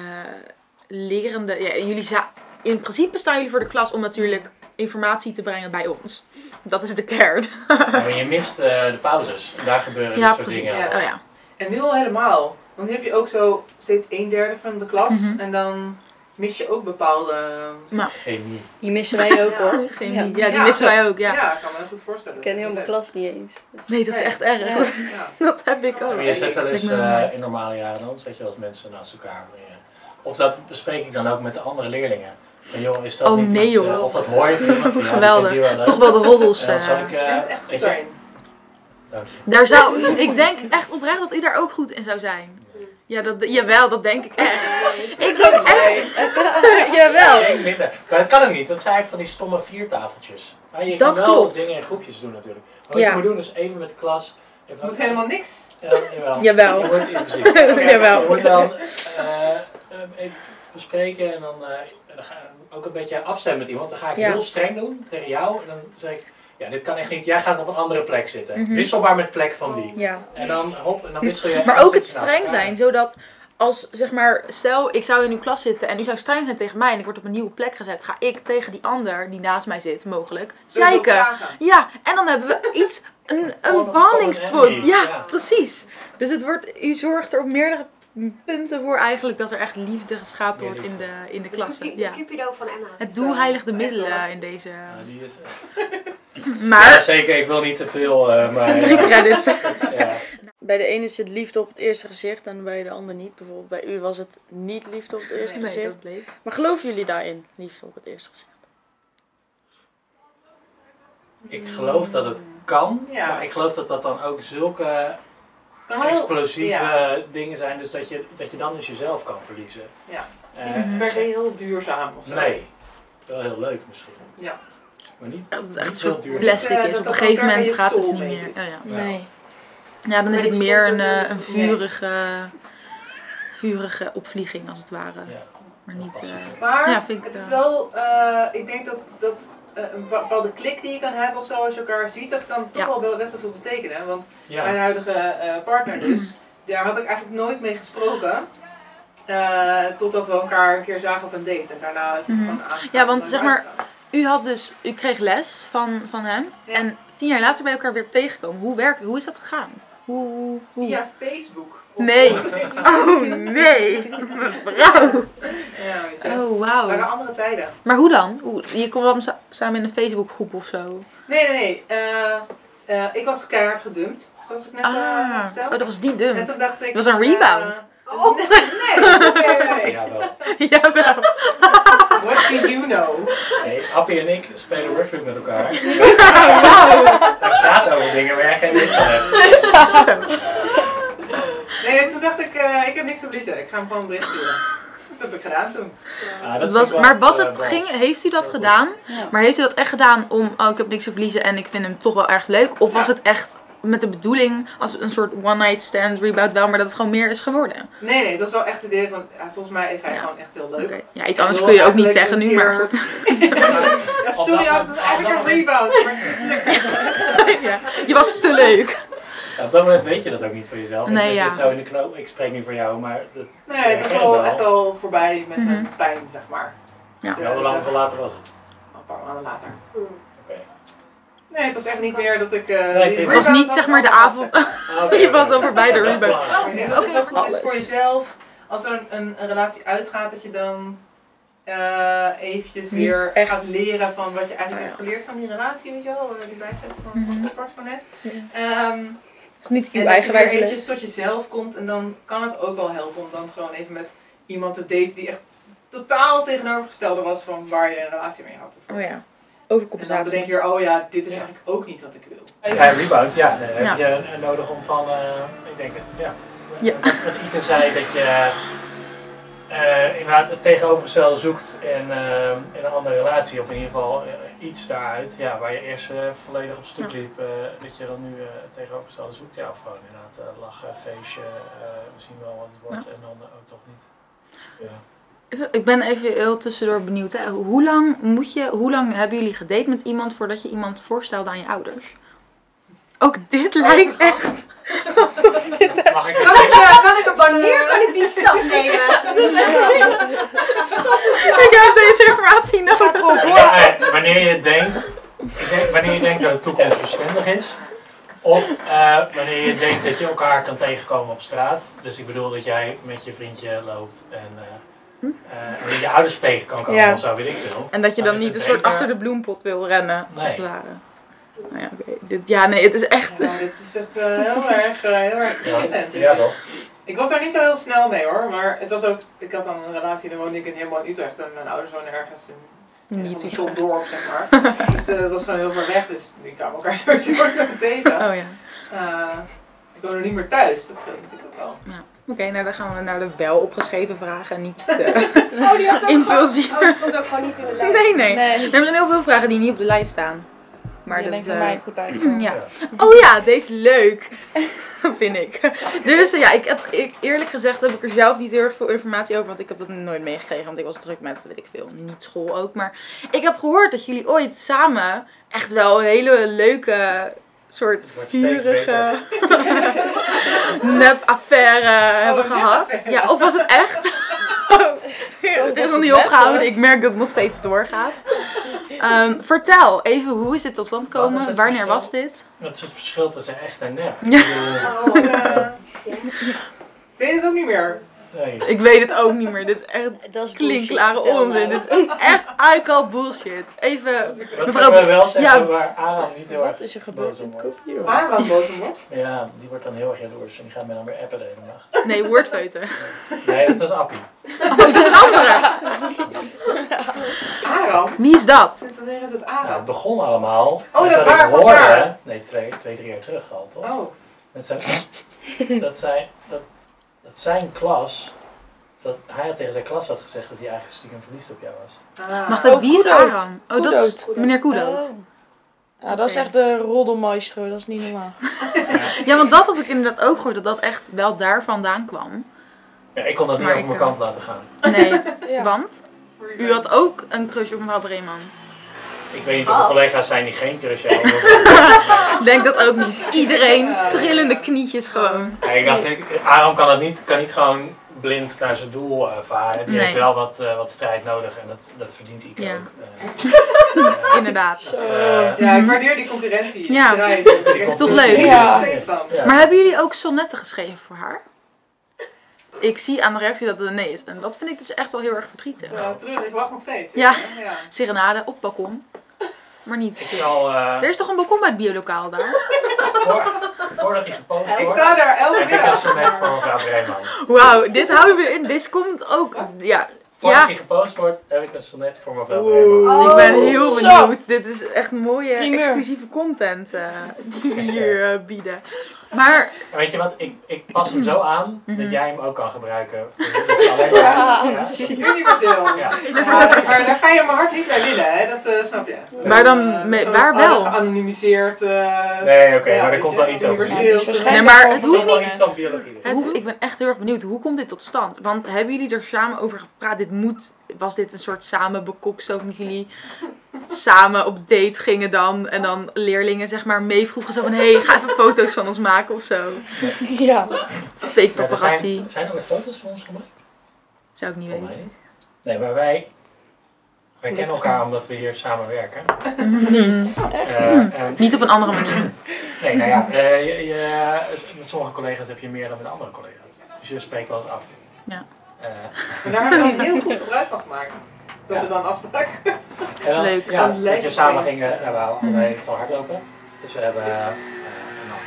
Speaker 3: lerende. Ja, en jullie za- in principe staan jullie voor de klas om natuurlijk informatie te brengen bij ons. Dat is de kern.
Speaker 6: Maar je mist eh, de pauzes. Daar gebeuren dit soort dingen.
Speaker 5: Ja.
Speaker 3: Oh ja.
Speaker 5: En nu al helemaal. Want nu heb je ook zo steeds een derde van de klas.
Speaker 3: Mhm.
Speaker 5: En dan mis je ook bepaalde...
Speaker 6: Chemie.
Speaker 7: Die missen wij ook
Speaker 5: Ja.
Speaker 7: hoor.
Speaker 3: Geen
Speaker 7: Ja.
Speaker 3: idee. ja, die
Speaker 5: Ja.
Speaker 3: missen wij ook. Ja.
Speaker 5: Ja. ik kan me dat goed voorstellen.
Speaker 7: Ik ken heel mijn klas niet eens.
Speaker 3: Nee, dat is echt erg.
Speaker 7: Ja.
Speaker 5: Ja.
Speaker 3: Dat heb ik
Speaker 5: Oh,
Speaker 6: Maar
Speaker 3: ook.
Speaker 6: je zet wel eens
Speaker 3: Ik ben-
Speaker 6: eh, in normale jaren dan, zet je wel eens mensen naast elkaar. eh, Of dat bespreek ik dan ook met de andere leerlingen. Van, joh, is dat
Speaker 3: Oh,
Speaker 6: niet
Speaker 3: nee,
Speaker 6: iets, eh,
Speaker 3: joh.
Speaker 6: of dat hoor je van iemand van, ja, die
Speaker 3: Geweldig.
Speaker 6: vindt die wel leuk.
Speaker 3: Toch wel de roddels.
Speaker 6: En dan zal
Speaker 3: eh,
Speaker 6: ik,
Speaker 5: Je
Speaker 6: eh,
Speaker 5: bent echt goed
Speaker 6: weet je,
Speaker 5: daarin.
Speaker 6: dank je.
Speaker 3: Daar zou, ik denk echt oprecht dat u daar ook goed in zou zijn. Ja, dat, jawel, dat denk ik echt. Ik denk echt. jawel.
Speaker 6: Nee, minder. Maar dat kan ook niet, want zij heeft van die stomme viertafeltjes. Maar je
Speaker 3: Dat
Speaker 6: kan wel
Speaker 3: klopt.
Speaker 6: dingen in groepjes doen natuurlijk. Maar wat
Speaker 3: Ja.
Speaker 6: je moet doen is even met de klas...
Speaker 5: Je moet helemaal niks.
Speaker 6: Ja, jawel.
Speaker 3: Jawel.
Speaker 6: Je wordt, ja, precies. Oké, maar
Speaker 3: Oh. Jawel.
Speaker 6: Je wordt dan eh, eh, even bespreken en dan, eh, en dan ga ik ook een beetje afstemmen met iemand. Dan ga ik
Speaker 7: Ja.
Speaker 6: heel streng doen tegen jou en dan zeg ik, ja dit kan echt niet, jij gaat op een andere plek zitten.
Speaker 3: Mhm.
Speaker 6: Wisselbaar met plek van die.
Speaker 7: Ja.
Speaker 6: En dan hop, en dan wissel je.
Speaker 3: Maar ook het streng zijn, zodat als zeg maar, stel ik zou in uw klas zitten en u zou streng zijn tegen mij en ik word op een nieuwe plek gezet, ga ik tegen die ander die naast mij zit, mogelijk,
Speaker 5: Sowieso
Speaker 3: zeiken.
Speaker 5: vragen.
Speaker 3: Ja, en dan hebben we iets, een, een
Speaker 6: Common-
Speaker 3: bandingspunt.
Speaker 6: common
Speaker 3: Ja,
Speaker 6: enemy,
Speaker 3: precies. Dus het wordt, u zorgt er op meerdere punten voor eigenlijk dat er echt liefde geschapen
Speaker 6: Meer
Speaker 3: wordt in de, in de
Speaker 8: De
Speaker 3: klas.
Speaker 8: cupi-
Speaker 3: Ja.
Speaker 8: de Cupido van Emma.
Speaker 3: Het
Speaker 8: is,
Speaker 3: doel
Speaker 8: eh,
Speaker 3: heiligt de
Speaker 8: echt wel
Speaker 3: middelen
Speaker 8: wat.
Speaker 3: in deze.
Speaker 6: die is, ja,
Speaker 3: Maar.
Speaker 6: zeker, ik wil niet te veel, eh, maar
Speaker 3: Drie
Speaker 6: ja,
Speaker 3: credits.
Speaker 6: dat, ja.
Speaker 4: Bij de ene zit liefde op het eerste gezicht en bij de ander niet. Bijvoorbeeld bij u was het niet liefde op het eerste
Speaker 3: Nee,
Speaker 4: gezicht.
Speaker 3: dat bleek.
Speaker 4: Maar geloven jullie daarin, liefde op het eerste gezicht?
Speaker 6: ik geloof dat het kan,
Speaker 5: Ja.
Speaker 6: maar ik geloof dat dat dan ook zulke...
Speaker 5: Kan wel heel-
Speaker 6: explosieve
Speaker 5: Ja.
Speaker 6: dingen zijn, dus dat je, dat je dan dus jezelf kan verliezen.
Speaker 5: Ja.
Speaker 6: Eh,
Speaker 5: Het is niet per se heel duurzaam of zo.
Speaker 6: nee, wel heel leuk misschien,
Speaker 5: Ja.
Speaker 6: maar niet.
Speaker 3: Ja, Dat is
Speaker 6: Niet
Speaker 3: echt een
Speaker 6: veel
Speaker 3: soort
Speaker 6: duur.
Speaker 3: plastic
Speaker 5: Dat, eh,
Speaker 3: is.
Speaker 5: dat
Speaker 3: Op een
Speaker 5: dat
Speaker 3: gegeven
Speaker 5: elkaar
Speaker 3: moment
Speaker 5: je
Speaker 3: gaat het niet
Speaker 5: soulmate
Speaker 3: meer.
Speaker 5: is.
Speaker 3: Ja, ja.
Speaker 6: Nee.
Speaker 3: ja, dan is
Speaker 5: Maar
Speaker 3: het
Speaker 5: die
Speaker 3: meer een,
Speaker 5: bestond ook niet.
Speaker 3: eh, een vurige, vurige opvlieging als het ware.
Speaker 6: Ja,
Speaker 3: Maar niet. eh,
Speaker 5: Maar
Speaker 3: Ja, vind ik,
Speaker 5: het is
Speaker 3: eh,
Speaker 5: wel, eh, ik denk dat, dat eh, een bepaalde klik die je kan hebben of zo, als je elkaar ziet, dat kan toch
Speaker 3: Ja.
Speaker 5: wel best wel veel betekenen. Want mijn
Speaker 6: ja.
Speaker 5: huidige eh, partner dus, daar had ik eigenlijk nooit mee gesproken. eh, totdat we elkaar een keer zagen op een date. En daarna is het
Speaker 3: Mhm.
Speaker 5: gewoon aangegaan.
Speaker 3: Ja, want
Speaker 5: en
Speaker 3: zeg maar-
Speaker 5: uitgegaan.
Speaker 3: U had dus, u kreeg les van, van hem.
Speaker 5: Ja.
Speaker 3: En tien jaar later bij elkaar weer tegenkomen. Hoe werkt, hoe is dat gegaan? Hoe, hoe?
Speaker 5: Via Facebook. Of-
Speaker 3: Nee.
Speaker 5: ja,
Speaker 3: Oh nee, mevrouw.
Speaker 5: weet je.
Speaker 3: Oh
Speaker 5: Het waren
Speaker 3: wauw.
Speaker 5: andere tijden.
Speaker 3: Maar hoe dan? Hoe- Je kwam dan sa- samen in een Facebookgroep of zo.
Speaker 5: Nee, nee, nee. Eh, eh, ik was keihard gedumpt, zoals ik net eh, had
Speaker 3: Ah,
Speaker 5: verteld.
Speaker 3: oh, dat was die
Speaker 5: En
Speaker 3: dump.
Speaker 5: toen dacht ik...
Speaker 3: Het was een rebound.
Speaker 5: eh, nee, nee, nee, nee.
Speaker 6: Ja, wel.
Speaker 3: Jawel.
Speaker 5: What do you know?
Speaker 6: Nee, appel Appie en ik spelen Rushwick met elkaar.
Speaker 3: Oh,
Speaker 6: Hij praat over dingen waar jij geen weet van hebt. Ah,
Speaker 5: Nee, toen dacht ik, eh, ik heb niks te verliezen. Ik ga hem gewoon een bericht sturen. Dat heb ik gedaan toen.
Speaker 6: Ah, dat
Speaker 3: Het
Speaker 6: vind
Speaker 3: was,
Speaker 6: ik wel
Speaker 3: maar was
Speaker 6: echt,
Speaker 3: het,
Speaker 6: eh,
Speaker 3: ging, heeft hij dat
Speaker 6: Heel goed.
Speaker 3: gedaan?
Speaker 7: Ja.
Speaker 3: Maar heeft hij dat echt gedaan om, oh, ik heb niks te verliezen en ik vind hem toch wel erg leuk? Of was
Speaker 5: Ja.
Speaker 3: het echt met de bedoeling, als een soort one-night stand, rebound wel, maar dat het gewoon meer is geworden?
Speaker 5: Nee, nee, het was wel echt het idee van, ja, volgens mij is hij
Speaker 3: Ja.
Speaker 5: gewoon echt heel
Speaker 3: Oké.
Speaker 5: leuk.
Speaker 3: Ja, iets anders kun je ook niet zeggen nu, maar goed.
Speaker 5: Ja, sorry,
Speaker 6: Op dat
Speaker 5: het was eigenlijk een rebound. Maar het is mislukt.
Speaker 3: Ja. Je was te leuk.
Speaker 6: Ja, op dat moment weet je dat ook niet voor jezelf.
Speaker 3: Nee,
Speaker 6: je
Speaker 3: ja.
Speaker 6: zit zo in de knoop. Ik spreek niet voor jou, maar dat-
Speaker 5: Nee, het was wel echt al voorbij met mijn
Speaker 3: Mhm.
Speaker 5: pijn, zeg maar.
Speaker 3: Ja.
Speaker 5: De-
Speaker 6: ja, hoe lang
Speaker 5: de-
Speaker 6: van later was het?
Speaker 5: Een paar maanden later.
Speaker 6: Oké.
Speaker 5: Nee, het was echt niet meer dat ik. eh,
Speaker 6: het
Speaker 5: die
Speaker 6: was
Speaker 3: Het was
Speaker 5: rebound
Speaker 3: niet
Speaker 5: had
Speaker 3: zeg maar de
Speaker 5: gehad,
Speaker 3: avond.
Speaker 5: zeg maar.
Speaker 6: Ah, oké,
Speaker 3: Je
Speaker 6: oké,
Speaker 3: was
Speaker 6: oké.
Speaker 3: al voorbij de
Speaker 6: Dat is
Speaker 3: rebound.
Speaker 6: belangrijk.
Speaker 5: Ik denk dat het wel goed
Speaker 3: Alles.
Speaker 5: is voor jezelf. Als er een, een, een relatie uitgaat, dat je dan eh, eventjes
Speaker 7: Niet
Speaker 5: weer
Speaker 7: echt.
Speaker 5: gaat leren van wat je eigenlijk
Speaker 7: Ja.
Speaker 5: hebt geleerd van die relatie, weet je wel, eh, die wijsheid van
Speaker 3: Mhm.
Speaker 5: het van net.
Speaker 7: Ja.
Speaker 5: Ehm,
Speaker 7: is
Speaker 5: en
Speaker 7: niet uw
Speaker 5: dat je
Speaker 7: eigen
Speaker 5: weer
Speaker 7: wijze les.
Speaker 5: eventjes tot jezelf komt en dan kan het ook wel helpen om dan gewoon even met iemand te daten die echt totaal tegenovergestelde was van waar je een relatie mee had.
Speaker 7: Oh ja,
Speaker 5: En dan
Speaker 7: overcompensatie.
Speaker 5: bedenk je, weer, oh ja, dit is
Speaker 6: Ja.
Speaker 5: eigenlijk ook niet wat ik wil.
Speaker 6: Ja, rebound, ja. Dan heb
Speaker 3: Ja.
Speaker 6: je eh, nodig om van, eh, ik denk, het, ja.
Speaker 3: Ja.
Speaker 6: Wat Iten zei, dat je eh, inderdaad het tegenovergestelde zoekt in, eh, in een andere relatie. Of in ieder geval eh, iets daaruit, ja, waar je eerst eh, volledig op stuk liep. eh, dat je dan nu eh, het tegenovergestelde zoekt. Ja, of gewoon inderdaad eh, lachen, feestje, eh, misschien wel wat het wordt. En dan eh, ook toch niet. Ja.
Speaker 3: Ik ben even heel tussendoor benieuwd. Hè. Hoe, lang moet je, hoe lang hebben jullie gedate met iemand voordat je iemand voorstelde aan je ouders? Ook dit lijkt echt...
Speaker 6: Mag ik
Speaker 1: Kan ik, eh, kan ik op wanneer kan ik die stap nemen?
Speaker 3: Ik heb deze informatie nodig.
Speaker 6: Eh, wanneer je denkt, ik denk, wanneer je denkt dat de toekomst bestendig is, of eh, wanneer je denkt dat je elkaar kan tegenkomen op straat. Dus ik bedoel dat jij met je vriendje loopt en eh, eh, en dat je ouders je tegen kan komen
Speaker 3: Ja.
Speaker 6: of zo, weet ik veel.
Speaker 3: En dat je
Speaker 6: Maar
Speaker 3: dan
Speaker 6: is
Speaker 3: niet een
Speaker 6: het
Speaker 3: soort
Speaker 6: beter?
Speaker 3: achter de bloempot wil rennen, als het
Speaker 6: Nee.
Speaker 3: ware. Nou ja, oké. Dit- Ja, nee, het is echt...
Speaker 5: Ja, dit is echt eh, heel erg, eh, heel erg verschillend.
Speaker 6: Ja, ja toch?
Speaker 5: Ik was daar niet zo heel snel mee hoor, maar het was ook, ik had dan een relatie en dan woonde ik in helemaal in Utrecht en mijn ouders woonden ergens in
Speaker 3: Niet
Speaker 5: een
Speaker 3: iets
Speaker 5: vol dorp zeg maar. dus eh, dat was gewoon heel ver weg, dus die kwamen elkaar sowieso nooit tegen.
Speaker 3: Oh ja.
Speaker 5: Eh, ik woon er niet meer thuis, dat scheelt natuurlijk ook wel.
Speaker 3: Oké, nou dan gaan we naar de wel opgeschreven vragen en niet de
Speaker 1: Oh, die had ze ook
Speaker 3: impulsieve.
Speaker 1: gewoon- Oh, die stond ook gewoon niet in de lijst.
Speaker 3: Nee, nee.
Speaker 7: Nee,
Speaker 3: Er zijn heel veel vragen die niet op de lijst staan. Maar dat,
Speaker 7: alleen voor
Speaker 3: eh,
Speaker 7: mij goed uitkomen.
Speaker 3: Ja. Oh ja, deze is leuk. Vind ik. Dus eh, ja, ik heb, ik, eerlijk gezegd heb ik er zelf niet heel erg veel informatie over. Want ik heb dat nooit meegekregen. Want ik was druk met, weet ik veel, niet school ook. Maar ik heb gehoord dat jullie ooit samen echt wel een hele leuke soort
Speaker 6: Het wordt steeds
Speaker 3: vurige nep-affaire hebben gehad.
Speaker 5: nep-affaire.
Speaker 3: Ja, of was het echt? het
Speaker 7: Oh, was
Speaker 3: is nog
Speaker 7: het
Speaker 3: niet
Speaker 7: nep,
Speaker 3: opgehouden.
Speaker 7: hoor.
Speaker 3: Ik merk dat het nog steeds doorgaat. Ehm, vertel even, hoe is dit tot stand
Speaker 6: Wat is
Speaker 3: komen?
Speaker 6: het
Speaker 3: Wanneer
Speaker 6: verschil?
Speaker 3: was dit?
Speaker 6: Dat is het verschil tussen echt en nep.
Speaker 3: Ja.
Speaker 6: Ik bedoel,
Speaker 1: Oh.
Speaker 5: Dus, eh, ik weet het ook niet meer.
Speaker 6: Nee.
Speaker 3: Ik weet het ook niet meer. Dit is echt
Speaker 7: Dat is
Speaker 3: klinkklare
Speaker 7: bullshit, vertel
Speaker 3: onzin.
Speaker 7: mij.
Speaker 3: Dit is echt alcohol bullshit. Even.
Speaker 6: Wat
Speaker 3: Mevrouw-
Speaker 6: kan we wel zeggen
Speaker 3: ja.
Speaker 6: waar Aram niet heel erg...
Speaker 7: Wat is er
Speaker 6: gebeurd
Speaker 7: gebeurd
Speaker 6: in
Speaker 7: in
Speaker 6: het
Speaker 7: kopje?
Speaker 5: Maar wel bovenmot.
Speaker 6: Ja, die wordt dan heel erg jaloers en die gaat mij dan weer appen de hele nacht.
Speaker 3: Nee, Oh, woordfeuten.
Speaker 6: Nee, dat was Appie.
Speaker 5: Aram?
Speaker 3: Wie is dat?
Speaker 5: Sinds wanneer is het
Speaker 6: Nou, het
Speaker 5: Aram?
Speaker 6: begon allemaal.
Speaker 5: Oh,
Speaker 6: met
Speaker 5: dat is waar,
Speaker 6: ik
Speaker 5: van
Speaker 6: hoorde.
Speaker 5: waar.
Speaker 6: Nee, twee, twee, drie jaar terug al, toch?
Speaker 5: Oh,
Speaker 6: Dat zijn, dat zijn, dat, dat zijn klas. Dat hij had tegen zijn klas had gezegd dat hij eigenlijk stiekem verliefd op jou was.
Speaker 5: ah.
Speaker 3: Wacht even,
Speaker 7: Oh,
Speaker 3: wie is
Speaker 7: Koedoot.
Speaker 3: Aram? Oh, dat is
Speaker 7: Koedoot.
Speaker 3: meneer Koedoot.
Speaker 7: Oh. Ja, dat is
Speaker 3: Oké.
Speaker 7: echt de roddelmaestro, dat is niet normaal.
Speaker 3: Ja, want dat had ik inderdaad ook gehoord. Dat dat echt wel daar vandaan kwam.
Speaker 6: Ja, ik kon dat niet
Speaker 3: Maar
Speaker 6: over
Speaker 3: ik,
Speaker 6: mijn
Speaker 3: eh,
Speaker 6: kant laten gaan.
Speaker 3: Nee,
Speaker 7: Ja.
Speaker 3: want u had ook een crush op mevrouw Breeman.
Speaker 6: Ik weet niet of er
Speaker 1: Wat?
Speaker 6: collega's zijn die geen crush hebben. of-
Speaker 3: Ik Denk dat ook niet. Iedereen trillende knietjes gewoon.
Speaker 6: Ja, ik dacht, ik, Aram kan, het niet, kan niet gewoon blind naar zijn doel eh, varen. Die
Speaker 3: Nee.
Speaker 6: heeft wel wat, eh, wat strijd nodig en dat, dat verdient Ike
Speaker 3: Ja.
Speaker 6: ook. Eh, eh,
Speaker 3: Inderdaad.
Speaker 6: dus, eh,
Speaker 5: Ja, ik waardeer die concurrentie.
Speaker 3: Mhm. Ja.
Speaker 5: Strijd. Ik heb
Speaker 6: Is
Speaker 5: echt-
Speaker 3: toch leuk?
Speaker 5: Ik heb er
Speaker 7: Ja.
Speaker 5: nog steeds van.
Speaker 6: ja.
Speaker 3: Maar hebben jullie ook sonnetten geschreven voor haar? Ik zie aan de reactie dat het een nee is. En dat vind ik dus echt wel heel erg verdrietig.
Speaker 5: Eh, terug, ik wacht nog steeds.
Speaker 3: Ja.
Speaker 5: ja.
Speaker 3: Serenade op balkon. Maar
Speaker 6: Ik
Speaker 3: niet.
Speaker 6: zal, eh,
Speaker 3: Er is toch een balkon bij het biolokaal daar?
Speaker 6: voor- voordat hij gepost
Speaker 5: Ik
Speaker 6: wordt,
Speaker 5: sta daar elke
Speaker 6: heb ik een
Speaker 5: middag.
Speaker 6: sonnet voor mevrouw Breeman.
Speaker 3: Wauw, dit houden we in. Dit komt ook. Ja,
Speaker 6: Voordat
Speaker 3: Ja.
Speaker 6: die gepost wordt, heb ik een sonnet voor mevrouw
Speaker 5: Oeh.
Speaker 6: Bremer.
Speaker 3: Ik ben heel
Speaker 7: zo.
Speaker 3: benieuwd. Dit is echt mooie
Speaker 7: Primeur.
Speaker 3: exclusieve content eh, die jullie hier eh, bieden. Maar
Speaker 6: En weet je wat, ik, ik pas hem zo aan dat jij hem ook kan gebruiken. Voor alleen
Speaker 7: Ja,
Speaker 6: maar- ja.
Speaker 7: precies.
Speaker 5: Universeel.
Speaker 6: Ja.
Speaker 5: Maar, maar daar ga je mijn hart niet naar willen, hè? dat eh, snap je.
Speaker 3: Maar dan
Speaker 5: Eh,
Speaker 3: me-
Speaker 5: zo'n
Speaker 3: waar wel?
Speaker 5: alle Geanonimiseerd. eh,
Speaker 6: Nee, oké,
Speaker 5: Ja,
Speaker 6: maar er
Speaker 5: weet
Speaker 6: komt
Speaker 5: je,
Speaker 6: wel iets over.
Speaker 5: universeel.
Speaker 6: Er
Speaker 5: Nee,
Speaker 3: Nee,
Speaker 7: waarschijnlijk
Speaker 3: maar
Speaker 7: gewoon
Speaker 3: het
Speaker 7: van
Speaker 6: komt
Speaker 3: hoeft
Speaker 6: wel
Speaker 7: dingen.
Speaker 6: iets van biologie.
Speaker 3: het- ik ben echt heel erg benieuwd, hoe komt dit tot stand? Want hebben jullie er samen over gepraat? Dit moet, was dit een soort samen bekokstoken dat jullie samen op date gingen dan? En dan leerlingen zeg maar meevroegen zo van, hé, hey, ga even foto's van ons maken of zo.
Speaker 7: Ja.
Speaker 3: Fake
Speaker 6: Ja, er
Speaker 3: paparazzi.
Speaker 6: zijn, zijn er weer foto's van ons gemaakt?
Speaker 3: Zou ik niet
Speaker 6: Volgens
Speaker 3: weten.
Speaker 6: mij niet. Nee, maar wij, wij kennen elkaar omdat we hier samen werken.
Speaker 7: Niet.
Speaker 6: Eh, en-
Speaker 3: Niet op een andere manier.
Speaker 6: nee, nou ja, eh, je- je- met sommige collega's heb je meer dan met andere collega's. Dus je spreekt wel eens af.
Speaker 3: Ja.
Speaker 6: Eh,
Speaker 5: En daar hebben we dan heel goed gebruik van gemaakt. Dat
Speaker 6: Ja.
Speaker 5: we dan afspraken.
Speaker 6: en dan,
Speaker 3: Leuk.
Speaker 6: Ja,
Speaker 5: Dat
Speaker 6: dat
Speaker 5: lijkt
Speaker 6: je
Speaker 5: me
Speaker 6: samen
Speaker 5: eens.
Speaker 6: gingen, nou, we
Speaker 3: Mhm.
Speaker 6: allebei van hardlopen. Dus we hebben,
Speaker 5: Precies.
Speaker 6: eh, en dan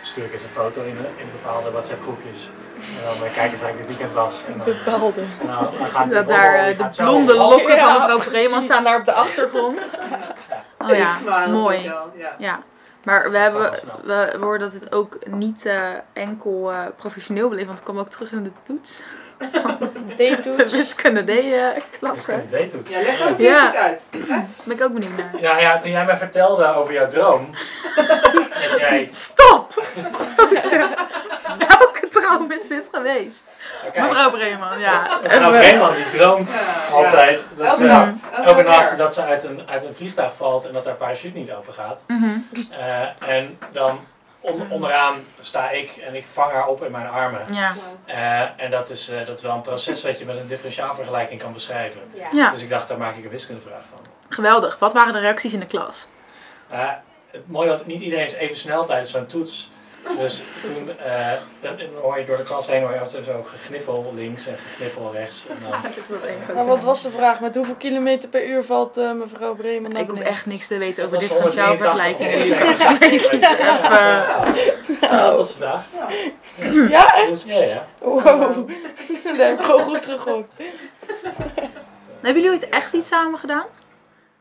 Speaker 6: stuur ik eens een foto in, eh, in bepaalde WhatsApp groepjes. En dan eh, kijken ze waar ik dit weekend was. En dan,
Speaker 7: Bepaalde.
Speaker 6: en dan, dan gaat
Speaker 3: Dat
Speaker 6: die
Speaker 3: daar
Speaker 6: borrel, die
Speaker 3: eh, de
Speaker 6: gaat zo
Speaker 3: blonde
Speaker 6: omhoog.
Speaker 3: lokken van
Speaker 7: Ja,
Speaker 3: mevrouw
Speaker 7: precies.
Speaker 3: Breeman staan daar op de achtergrond. Oh
Speaker 5: Ik
Speaker 3: ja,
Speaker 5: smiles, weet je
Speaker 3: mooi.
Speaker 5: wel, Ja.
Speaker 3: Ja. Maar we,
Speaker 6: Dat
Speaker 3: hebben,
Speaker 6: gaat wel snel.
Speaker 3: we we hoorden dat het ook niet eh, enkel eh, professioneel bleef, want ik kwam ook terug in de toets.
Speaker 7: Date
Speaker 3: De
Speaker 7: doet.
Speaker 3: wiskunde
Speaker 6: Dus ik
Speaker 3: D-klasse.
Speaker 6: een date doet.
Speaker 5: ja, leg dat eens
Speaker 3: Ja.
Speaker 5: eventjes uit.
Speaker 3: ben ik ook benieuwd naar.
Speaker 6: Ja, ja, toen jij mij vertelde over jouw droom, dat jij...
Speaker 3: Stop! Welke droom is dit geweest?
Speaker 6: Kijk,
Speaker 3: Mevrouw Breeman, ja. Eh,
Speaker 6: mevrouw Breeman die droomt
Speaker 5: Ja, ja.
Speaker 6: altijd dat
Speaker 5: Elke
Speaker 6: ze...
Speaker 3: Ja.
Speaker 5: nacht.
Speaker 6: Elke nacht
Speaker 5: keer.
Speaker 6: dat ze uit een, uit een vliegtuig valt en dat haar parachute niet open gaat.
Speaker 3: Mhm.
Speaker 6: Eh, en dan on- onderaan sta ik en ik vang haar op in mijn armen.
Speaker 3: Ja.
Speaker 6: Eh, en dat is, eh, dat is wel een proces wat je met een differentiaalvergelijking kan beschrijven.
Speaker 3: ja,
Speaker 6: Dus ik dacht, daar maak ik een wiskundevraag van.
Speaker 3: geweldig. Wat waren de reacties in de klas?
Speaker 6: Eh, het mooie was, niet iedereen is even snel tijdens zo'n toets. Dus toen eh, dan dan hoor je door de klas heen hoor je af en toe zo gegniffel links en gegniffel rechts. En dan,
Speaker 3: Dit was één
Speaker 7: Maar wat was de vraag? Met hoeveel kilometer per uur valt eh, mevrouw Bremen naar
Speaker 3: Ik hoef
Speaker 7: beneden?
Speaker 3: echt niks te weten
Speaker 6: Dat
Speaker 3: over
Speaker 6: was
Speaker 3: dit van jouw
Speaker 6: 181
Speaker 3: vergelijkingen. eh,
Speaker 6: Ja.
Speaker 7: Nou,
Speaker 6: Ja, dat was de vraag.
Speaker 7: Ja?
Speaker 6: Dus, ja, ja.
Speaker 7: Wow. Daar heb ik gewoon goed teruggehoord.
Speaker 3: Hebben jullie ooit echt iets samen gedaan?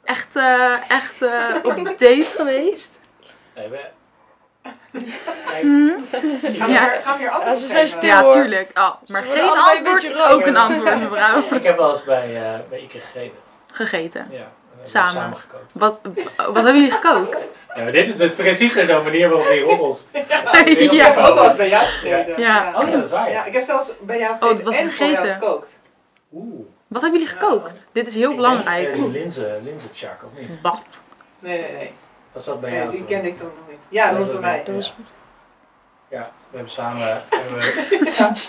Speaker 3: Echt, eh, echt eh, op date geweest?
Speaker 6: Nee, we- Hm?
Speaker 5: Gaan we weer- gaan we
Speaker 3: Ja.
Speaker 5: weer
Speaker 7: Ja,
Speaker 5: afspraken
Speaker 7: ze zijn
Speaker 5: geven?
Speaker 7: stil.
Speaker 3: Ja,
Speaker 7: hoor.
Speaker 3: tuurlijk. Oh, maar
Speaker 7: worden
Speaker 3: geen
Speaker 7: allebei een
Speaker 3: antwoord
Speaker 7: beetje
Speaker 3: is ook
Speaker 7: rood.
Speaker 3: een antwoord, mevrouw.
Speaker 6: ik heb wel eens bij, eh bij Ike gegeten.
Speaker 3: Gegeten.
Speaker 6: Ja, en we hebben
Speaker 3: Samen.
Speaker 6: samen gekookt.
Speaker 3: Wat, wat hebben jullie gekookt?
Speaker 6: Ja, maar dit is dus precies weer zo'n manier waarop die rommels.
Speaker 5: Ik heb ook wel eens bij jou gegeten.
Speaker 3: Ja.
Speaker 6: Oh, ja, dat is waar.
Speaker 5: Ja,
Speaker 6: Ja.
Speaker 5: ik heb zelfs bij jou
Speaker 3: Oh, dat
Speaker 5: gegeten
Speaker 3: was
Speaker 5: en voor jou
Speaker 3: vergeten.
Speaker 5: gekookt.
Speaker 6: Oeh.
Speaker 3: Wat hebben jullie gekookt? Dit is heel belangrijk.
Speaker 6: Linzen, linzenchak, of niet?
Speaker 3: Wat?
Speaker 5: Nee, nee, nee.
Speaker 6: Was dat bij
Speaker 5: nee
Speaker 6: jou?
Speaker 5: die
Speaker 6: toen?
Speaker 5: kende ik toen nog niet. Ja, dat was bij mij.
Speaker 6: ja. Ja, we hebben samen. hebben we-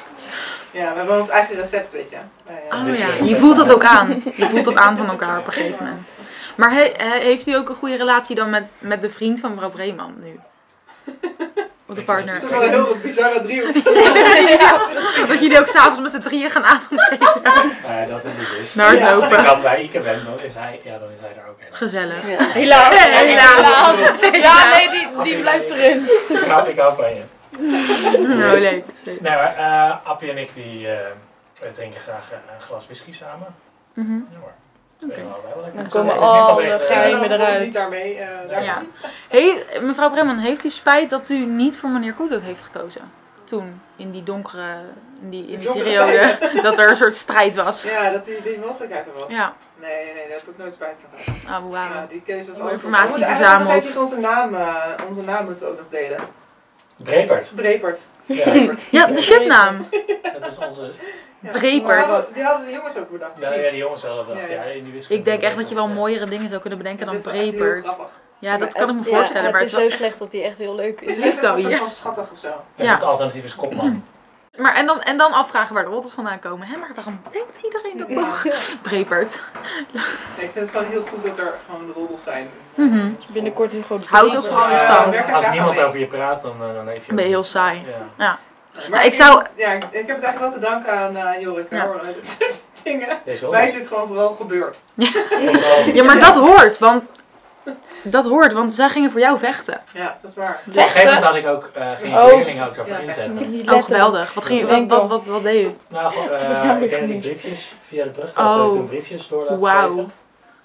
Speaker 5: Ja, we hebben ons eigen recept, weet je. Wij, eh,
Speaker 3: Oh ja, je voelt dat ook aan. Je voelt dat aan van elkaar op een gegeven moment. Maar he- he- heeft u ook een goede relatie dan met, met de vriend van mevrouw Breeman nu? Of de partner?
Speaker 5: Het is wel een heel bizarre driehoek.
Speaker 3: ja, Dat jullie ook s'avonds met z'n drieën gaan avondeten.
Speaker 6: Nou ja, dat is het dus.
Speaker 3: Naar het
Speaker 6: Als ik
Speaker 3: lopen.
Speaker 6: dan bij Ike ben, dan is hij, ja, dan is hij daar ook helemaal.
Speaker 3: Gezellig.
Speaker 7: Helaas.
Speaker 3: Hey,
Speaker 6: helaas.
Speaker 7: Ja, nee, die, die blijft erin.
Speaker 6: Ik hou, ik hou van je.
Speaker 3: Nou, leuk. leuk.
Speaker 6: Nee, maar eh, Appie en ik die, eh, we drinken graag eh, een glas whisky samen.
Speaker 3: Mhm.
Speaker 6: Ja hoor. Dat weten we allebei wel lekker.
Speaker 7: Dan komen
Speaker 6: Het is niet
Speaker 7: alle
Speaker 6: vanwege-
Speaker 7: geheimen eruit.
Speaker 5: Niet daarmee. eh, daar-
Speaker 3: Ja. Hey, mevrouw Breman, heeft u spijt dat u niet voor meneer Koedoet heeft gekozen? Toen, in die donkere, in die, in die
Speaker 5: Donkere
Speaker 3: periode, dat er een soort strijd was.
Speaker 5: Ja, dat die, die mogelijkheid er was.
Speaker 3: Ja,
Speaker 5: Nee, nee, nee, daar heb ik nooit spijt van gehad.
Speaker 3: ah,
Speaker 5: Ja,
Speaker 3: wauw.
Speaker 5: die keuze was
Speaker 3: Mooie
Speaker 5: ook goed.
Speaker 3: informatie
Speaker 5: We moeten eigenlijk nog
Speaker 3: verzameld.
Speaker 5: eventjes onze naam, eh, onze naam moeten we ook nog delen.
Speaker 6: Brepert.
Speaker 5: Brepert.
Speaker 6: Eh, Ja,
Speaker 3: Ja, de shipnaam.
Speaker 6: dat is onze.
Speaker 5: Ja.
Speaker 3: Brepert.
Speaker 5: Maar hadden- Die hadden de jongens ook bedacht.
Speaker 6: Nou ja, die jongens zelf wel.
Speaker 5: Ja,
Speaker 6: Ja,
Speaker 5: ja.
Speaker 6: in die wiskunde.
Speaker 3: Ik denk echt dat je wel
Speaker 6: Ja.
Speaker 3: mooiere dingen zou kunnen bedenken dan
Speaker 5: Dit is wel echt heel
Speaker 3: Brepert.
Speaker 5: grappig.
Speaker 3: Ja, dat
Speaker 8: Maar
Speaker 3: kan ik me
Speaker 8: het-
Speaker 3: voorstellen,
Speaker 8: ja,
Speaker 3: maar
Speaker 8: het
Speaker 3: het
Speaker 8: is
Speaker 3: is wel-
Speaker 8: zo slecht dat hij echt heel leuk
Speaker 5: Het
Speaker 8: is.
Speaker 5: lijkt wel een soort
Speaker 3: Yes.
Speaker 5: van schattig of zo.
Speaker 6: En
Speaker 3: Ja.
Speaker 6: Het alternatief is kopman.
Speaker 3: Maar en dan, en dan afvragen waar de rotters vandaan komen. Hé, maar waarom denkt iedereen dat
Speaker 5: Ja.
Speaker 3: toch? Brepert.
Speaker 5: Nee, ik vind het gewoon heel goed dat er gewoon roddels zijn.
Speaker 3: Mhm.
Speaker 7: Binnenkort Hugo de
Speaker 3: Houd
Speaker 7: Vries.
Speaker 3: ook vooral in
Speaker 6: Eh,
Speaker 5: Ja,
Speaker 3: stand.
Speaker 5: werk er
Speaker 6: Als
Speaker 5: graag
Speaker 6: niemand
Speaker 5: aan
Speaker 6: over je praat, dan, eh, dan heeft je.
Speaker 3: Ben je heel
Speaker 6: het.
Speaker 3: saai.
Speaker 6: Ja.
Speaker 5: mee.
Speaker 3: Maar
Speaker 5: Maar
Speaker 3: ik
Speaker 5: ik
Speaker 3: zou-
Speaker 5: Ja, ik ik heb het eigenlijk wel te danken aan eh Jorik.
Speaker 3: Ja.
Speaker 5: Hoor, eh, dit soort dingen. Wij
Speaker 6: Deze honderd.
Speaker 5: is dit gewoon vooral gebeurd.
Speaker 6: Overal.
Speaker 3: Ja, maar dat hoort, want Dat hoort, want zij gingen voor jou vechten. Oh,
Speaker 5: Ja, dat is waar.
Speaker 6: Op een gegeven moment
Speaker 7: Vechten?
Speaker 6: had ik ook eh geen
Speaker 7: Oh.
Speaker 6: leerlingen ook daarvoor
Speaker 5: Ja, echt.
Speaker 6: inzetten.
Speaker 7: Niet
Speaker 3: Oh,
Speaker 7: letten.
Speaker 3: geweldig. Wat, ging, wat, wat, wat, wat deed u?
Speaker 6: Nou, eh,
Speaker 7: Toen heb ik jou weer
Speaker 6: ik deed die
Speaker 7: gemist.
Speaker 6: briefjes via de brug. was er
Speaker 3: Oh.
Speaker 6: toen briefjes door laten
Speaker 3: Wauw.
Speaker 6: geven.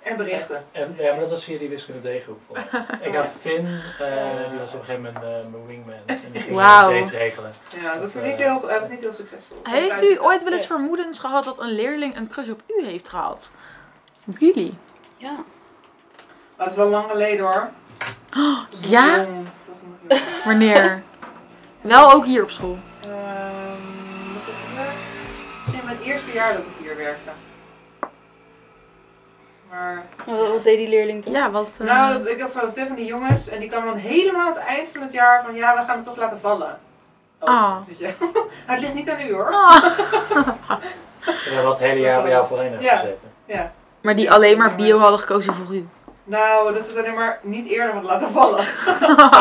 Speaker 5: En berichten.
Speaker 6: En, ja, maar dat was hier die wiskunde D-groep. volgens mij. ik had Finn, eh, die was op een gegeven moment eh, mijn wingman. En die ging
Speaker 3: Wauw.
Speaker 6: dates regelen.
Speaker 5: Ja, dat is niet heel, hij was niet heel succesvol.
Speaker 3: Heeft u ooit wel eens
Speaker 7: Ja.
Speaker 3: vermoedens gehad dat een leerling een crush op u heeft gehad? Op jullie?
Speaker 4: Ja.
Speaker 5: Maar Oh, het is wel lang geleden hoor. Dat is nog
Speaker 3: Oh, ja?
Speaker 5: jong. Dat is nog jong.
Speaker 3: Wanneer? wel ook hier op school.
Speaker 5: Ehm, wat is het vandaag? Misschien mijn eerste jaar dat ik hier werkte. Maar,
Speaker 4: Wat,
Speaker 5: Oh,
Speaker 4: wat deed die leerling toen?
Speaker 3: Ja, wat... eh,
Speaker 5: nou, dat, ik had zo'n hotel van die jongens en die kwamen dan helemaal aan het eind van het jaar van ja, we gaan het toch laten vallen.
Speaker 3: Ah.
Speaker 5: dus ja. Nou, het ligt niet aan u hoor.
Speaker 3: Ah.
Speaker 6: En dat had het hele jaar bij jou voorheen hebben
Speaker 5: Ja.
Speaker 6: gezeten.
Speaker 5: Ja.
Speaker 3: Maar die alleen maar bio hadden gekozen voor u.
Speaker 5: Nou, dat is alleen maar niet eerder had laten vallen.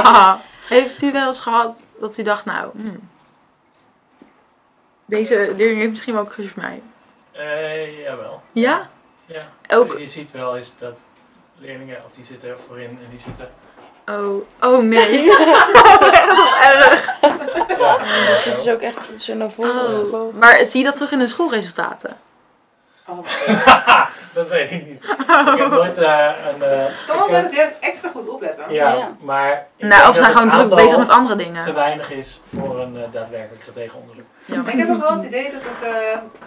Speaker 3: heeft u wel eens gehad dat u dacht, nou... hmm, deze leerling heeft misschien wel een crush op mij.
Speaker 6: Eh, jawel.
Speaker 3: Ja?
Speaker 6: Ja.
Speaker 3: Ook...
Speaker 6: Je ziet wel eens dat leerlingen, of die zitten heel voorin en die zitten...
Speaker 3: Oh, oh nee. Oh,
Speaker 6: Ja,
Speaker 7: Dus dit is ook echt zo naar voren
Speaker 3: Oh.
Speaker 7: gebogen.
Speaker 3: Maar zie je dat terug in hun schoolresultaten?
Speaker 5: Oh.
Speaker 6: dat weet ik niet. Ik heb nooit eh, een... eh,
Speaker 5: Kan wel zijn dat je juist extra goed opletten.
Speaker 6: ja,
Speaker 4: Ja.
Speaker 6: maar... ik denk
Speaker 3: nou, of ze
Speaker 6: dat
Speaker 3: zijn gewoon
Speaker 6: het
Speaker 3: druk
Speaker 6: aantal
Speaker 3: bezig met andere dingen.
Speaker 6: te weinig is voor een eh, daadwerkelijk gedegen
Speaker 3: Ja.
Speaker 5: Ik heb ook wel het idee dat het eh,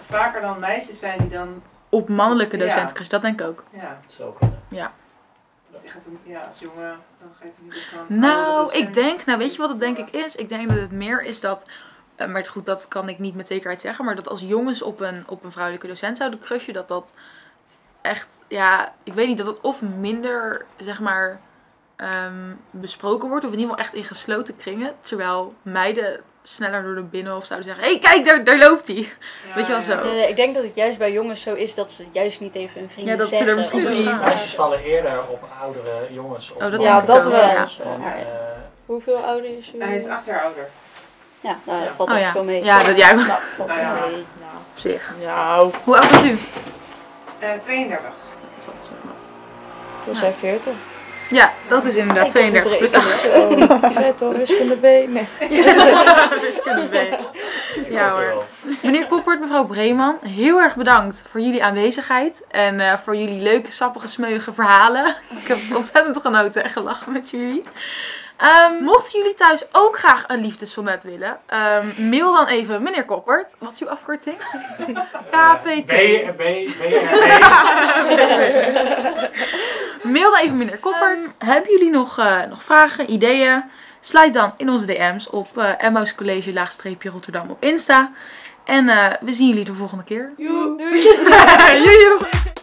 Speaker 5: vaker dan meisjes zijn die dan,
Speaker 3: Op mannelijke
Speaker 5: Ja.
Speaker 3: docentencrush, dat denk ik ook.
Speaker 5: ja,
Speaker 6: Zo kunnen.
Speaker 5: dat is echt een, ja, als jongen, dan ga je het er niet op Oh, gaan.
Speaker 3: Nou, ik denk, nou weet je wat het denk ik is? Ik denk dat het meer is dat, eh, maar goed, dat kan ik niet met zekerheid zeggen, maar dat als jongens op een, op een vrouwelijke docent zouden crushen, dat dat echt, ja, ik weet niet, dat dat of minder, zeg maar, ehm, besproken wordt, of in ieder geval echt in gesloten kringen, terwijl meiden sneller door de binnenhof zouden zeggen, hé, hey, kijk, daar, daar loopt hij.
Speaker 5: Ja,
Speaker 3: weet je wel
Speaker 5: ja.
Speaker 3: zo.
Speaker 4: Nee, nee, ik denk dat het juist bij jongens zo is dat ze het juist niet tegen hun vrienden
Speaker 3: Ja, dat ze er
Speaker 4: zeggen.
Speaker 3: misschien
Speaker 4: of-
Speaker 3: niet-
Speaker 6: Meisjes vallen eerder op oudere jongens. Of
Speaker 3: Oh, dat-
Speaker 4: Ja,
Speaker 6: mannen.
Speaker 4: dat
Speaker 3: Ja.
Speaker 4: wel.
Speaker 3: Ja.
Speaker 6: En,
Speaker 4: Maar
Speaker 6: eh,
Speaker 4: hoeveel ouder is u?
Speaker 5: Hij is acht jaar ouder.
Speaker 4: Ja, nou, dat
Speaker 5: Ja.
Speaker 4: valt
Speaker 3: Oh
Speaker 4: echt
Speaker 3: ja.
Speaker 4: wel mee.
Speaker 3: Ja, dat jij-
Speaker 4: Nou, valt
Speaker 5: Nou ja.
Speaker 4: wel mee. Nou.
Speaker 3: Op zich.
Speaker 7: Nou,
Speaker 3: Hoe oud bent u?
Speaker 5: Eh 32.
Speaker 7: we zijn 40.
Speaker 3: Ja, dat is inderdaad Dus 32 plus 8.
Speaker 7: Oh, ik zei het al, wiskunde B. Nee.
Speaker 6: ik
Speaker 3: Ja,
Speaker 6: hoop het
Speaker 3: hoor.
Speaker 6: wel.
Speaker 3: Meneer Koppert, mevrouw Breeman, heel erg bedankt voor jullie aanwezigheid en eh, voor jullie leuke, sappige, smeuïge verhalen. Ik heb ontzettend genoten en gelachen met jullie. Ehm, mochten jullie thuis ook graag een liefdesonnet willen, ehm, mail dan even meneer Koppert. Wat is uw afkorting? KPT.
Speaker 6: B, B, B, R,
Speaker 3: mail dan even meneer Koppert. Hebben jullie nog, eh, nog vragen, ideeën? Sluit dan in onze DM's op eh Emmaus College laagstreepje Rotterdam op Insta. En eh, we zien jullie de volgende keer.
Speaker 7: Joe.
Speaker 3: Joejoe!